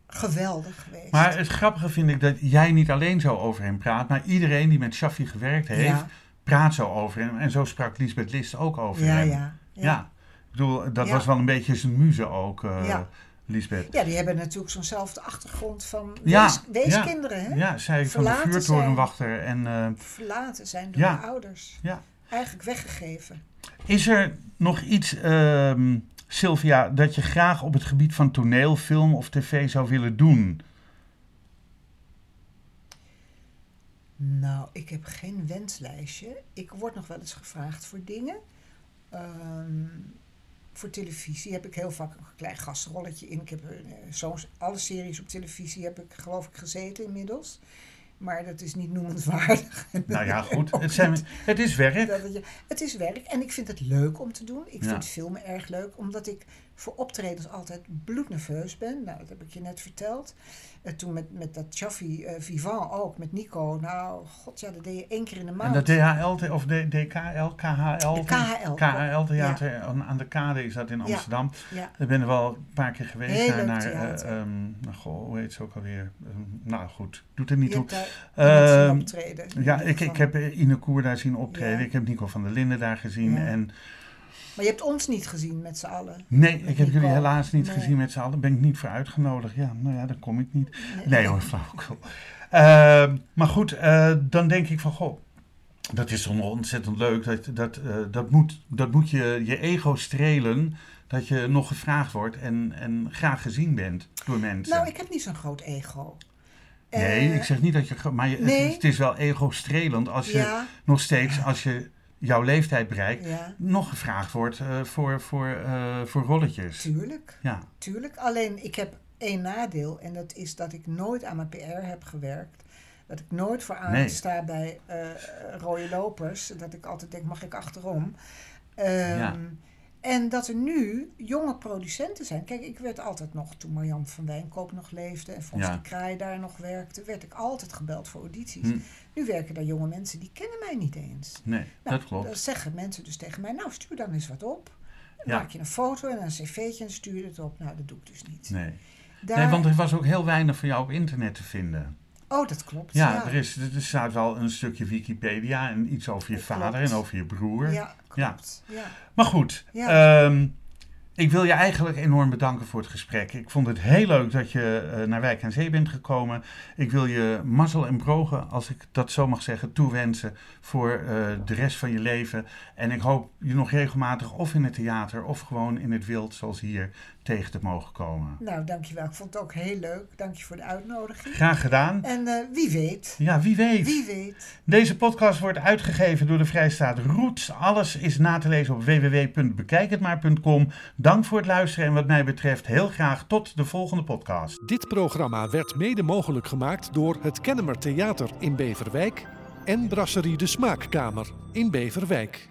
geweldig geweest.
Maar het grappige vind ik dat jij niet alleen zo over hem praat, maar iedereen die met Shaffi gewerkt heeft,
ja,
praat zo over hem. En zo sprak Lisbeth List ook over
ja,
hem.
ja,
Ja. Ik bedoel, dat
Ja.
was wel een beetje zijn muze ook, eh,
Ja.
Lisbeth.
Ja, die hebben natuurlijk zo'nzelfde achtergrond van
Ja,
wees-
ja.
weeskinderen. Hè?
Ja, zij van de
Verlaten zijn.
vuurtorenwachter. En, eh,
Verlaten zijn door
Ja.
de ouders.
Ja.
Eigenlijk weggegeven.
is er nog iets, ehm, Sylvia, dat je graag op het gebied van toneel, film of tv zou willen doen?
Nou, ik heb geen wenslijstje. Ik word nog wel eens gevraagd voor dingen. Ehm, voor televisie heb ik heel vaak een klein gastrolletje in. Ik heb eh, zo'n alle series op televisie heb ik geloof ik gezeten inmiddels. Maar dat is niet noemenswaardig.
Nou ja, goed. Het, zijn, het is werk.
Dat het, je- het is werk en ik vind het leuk om te doen. Ik
Ja.
vind filmen erg leuk, omdat ik voor optredens altijd bloednerveus ben. Nou, dat heb ik je net verteld. En toen met, met dat Chaffee eh Vivant ook, met Nico. Nou, god ja, dat deed je één keer in de
En
maand.
dat DHL, te- of D- DKL, KHL,
De KHL.
KHL Theater aan aan de Kade is dat in Amsterdam.
ja.
Ik ben er wel een paar keer geweest.
Heel
naar-
leuk
naar,
theater.
eh, ehm, nou, goh, hoe heet ze ook alweer? Ehm, nou goed, doet er niet
je
toe.
hebt daar mensen
Ehm,
optreden.
Ja, ik, ik heb eh, Ine Koer daar zien optreden.
Ja.
Ik heb Nico van der Linden daar gezien.
Ja.
En
Maar je hebt ons niet gezien met z'n allen.
nee, ik heb
Nico,
jullie helaas niet
nee.
gezien met z'n allen. Ben ik niet voor uitgenodigd. Ja, nou ja, dan kom ik niet. Nee hoor, flauwekul. Ehm, maar goed, eh, dan denk ik van, goh, dat is on- ontzettend leuk. Dat, dat, eh, dat moet, dat moet je, je ego strelen, dat je nog gevraagd wordt en, en graag gezien bent door mensen.
Nou, ik heb niet zo'n groot ego.
nee,
Eh,
ik zeg niet dat je... gro- Maar je, het-
nee.
het is wel ego-strelend als je
ja,
nog steeds, als je jouw leeftijd bereikt,
ja,
nog gevraagd wordt eh, voor, voor, eh, voor rolletjes.
tuurlijk.
Ja,
Tuurlijk, alleen ik heb één nadeel en dat is dat ik nooit aan mijn PR heb gewerkt. Dat ik nooit vooraan
Nee.
sta bij eh, rode lopers. Dat ik altijd denk, mag ik achterom? Ehm,
Ja.
En dat er nu jonge producenten zijn. Kijk, ik werd altijd nog, toen Marjan van Wijnkoop nog leefde en Fons
Ja.
de Kraai daar nog werkte, werd ik altijd gebeld voor audities.
Hm.
Nu werken daar jonge mensen, die kennen mij niet eens.
nee,
Nou,
dat klopt.
Dan zeggen mensen dus tegen mij, nou stuur dan eens wat op. Dan
Ja.
maak je een foto en een cv'tje en stuur het op. Nou, dat doe ik dus niet.
Nee.
Daar-
nee, want er was ook heel weinig van jou op internet te vinden.
Oh, dat klopt.
Ja, Er, is, er staat wel een stukje Wikipedia en iets over je
Dat
vader
klopt.
en over je broer.
Ja, klopt. Ja.
Maar goed, ehm, ik wil je eigenlijk enorm bedanken voor het gesprek. Ik vond het heel leuk dat je eh, naar Wijk aan Zee bent gekomen. Ik wil je mazzel en brogen, als ik dat zo mag zeggen, toewensen voor eh, de rest van je leven. En ik hoop je nog regelmatig of in het theater of gewoon in het wild, zoals hier, tegen te mogen komen.
Nou, dankjewel. Ik vond het ook heel leuk. Dank je voor de uitnodiging.
Graag gedaan.
En eh, wie weet.
Ja, wie weet.
Wie weet.
Deze podcast wordt uitgegeven door de Vrijstaat Roots. Alles is na te lezen op www.bekijkhetmaar.com. Dank voor het luisteren en wat mij betreft heel graag tot de volgende podcast.
Dit programma werd mede mogelijk gemaakt door het Kennemer Theater in Beverwijk en Brasserie de Smaakkamer in Beverwijk.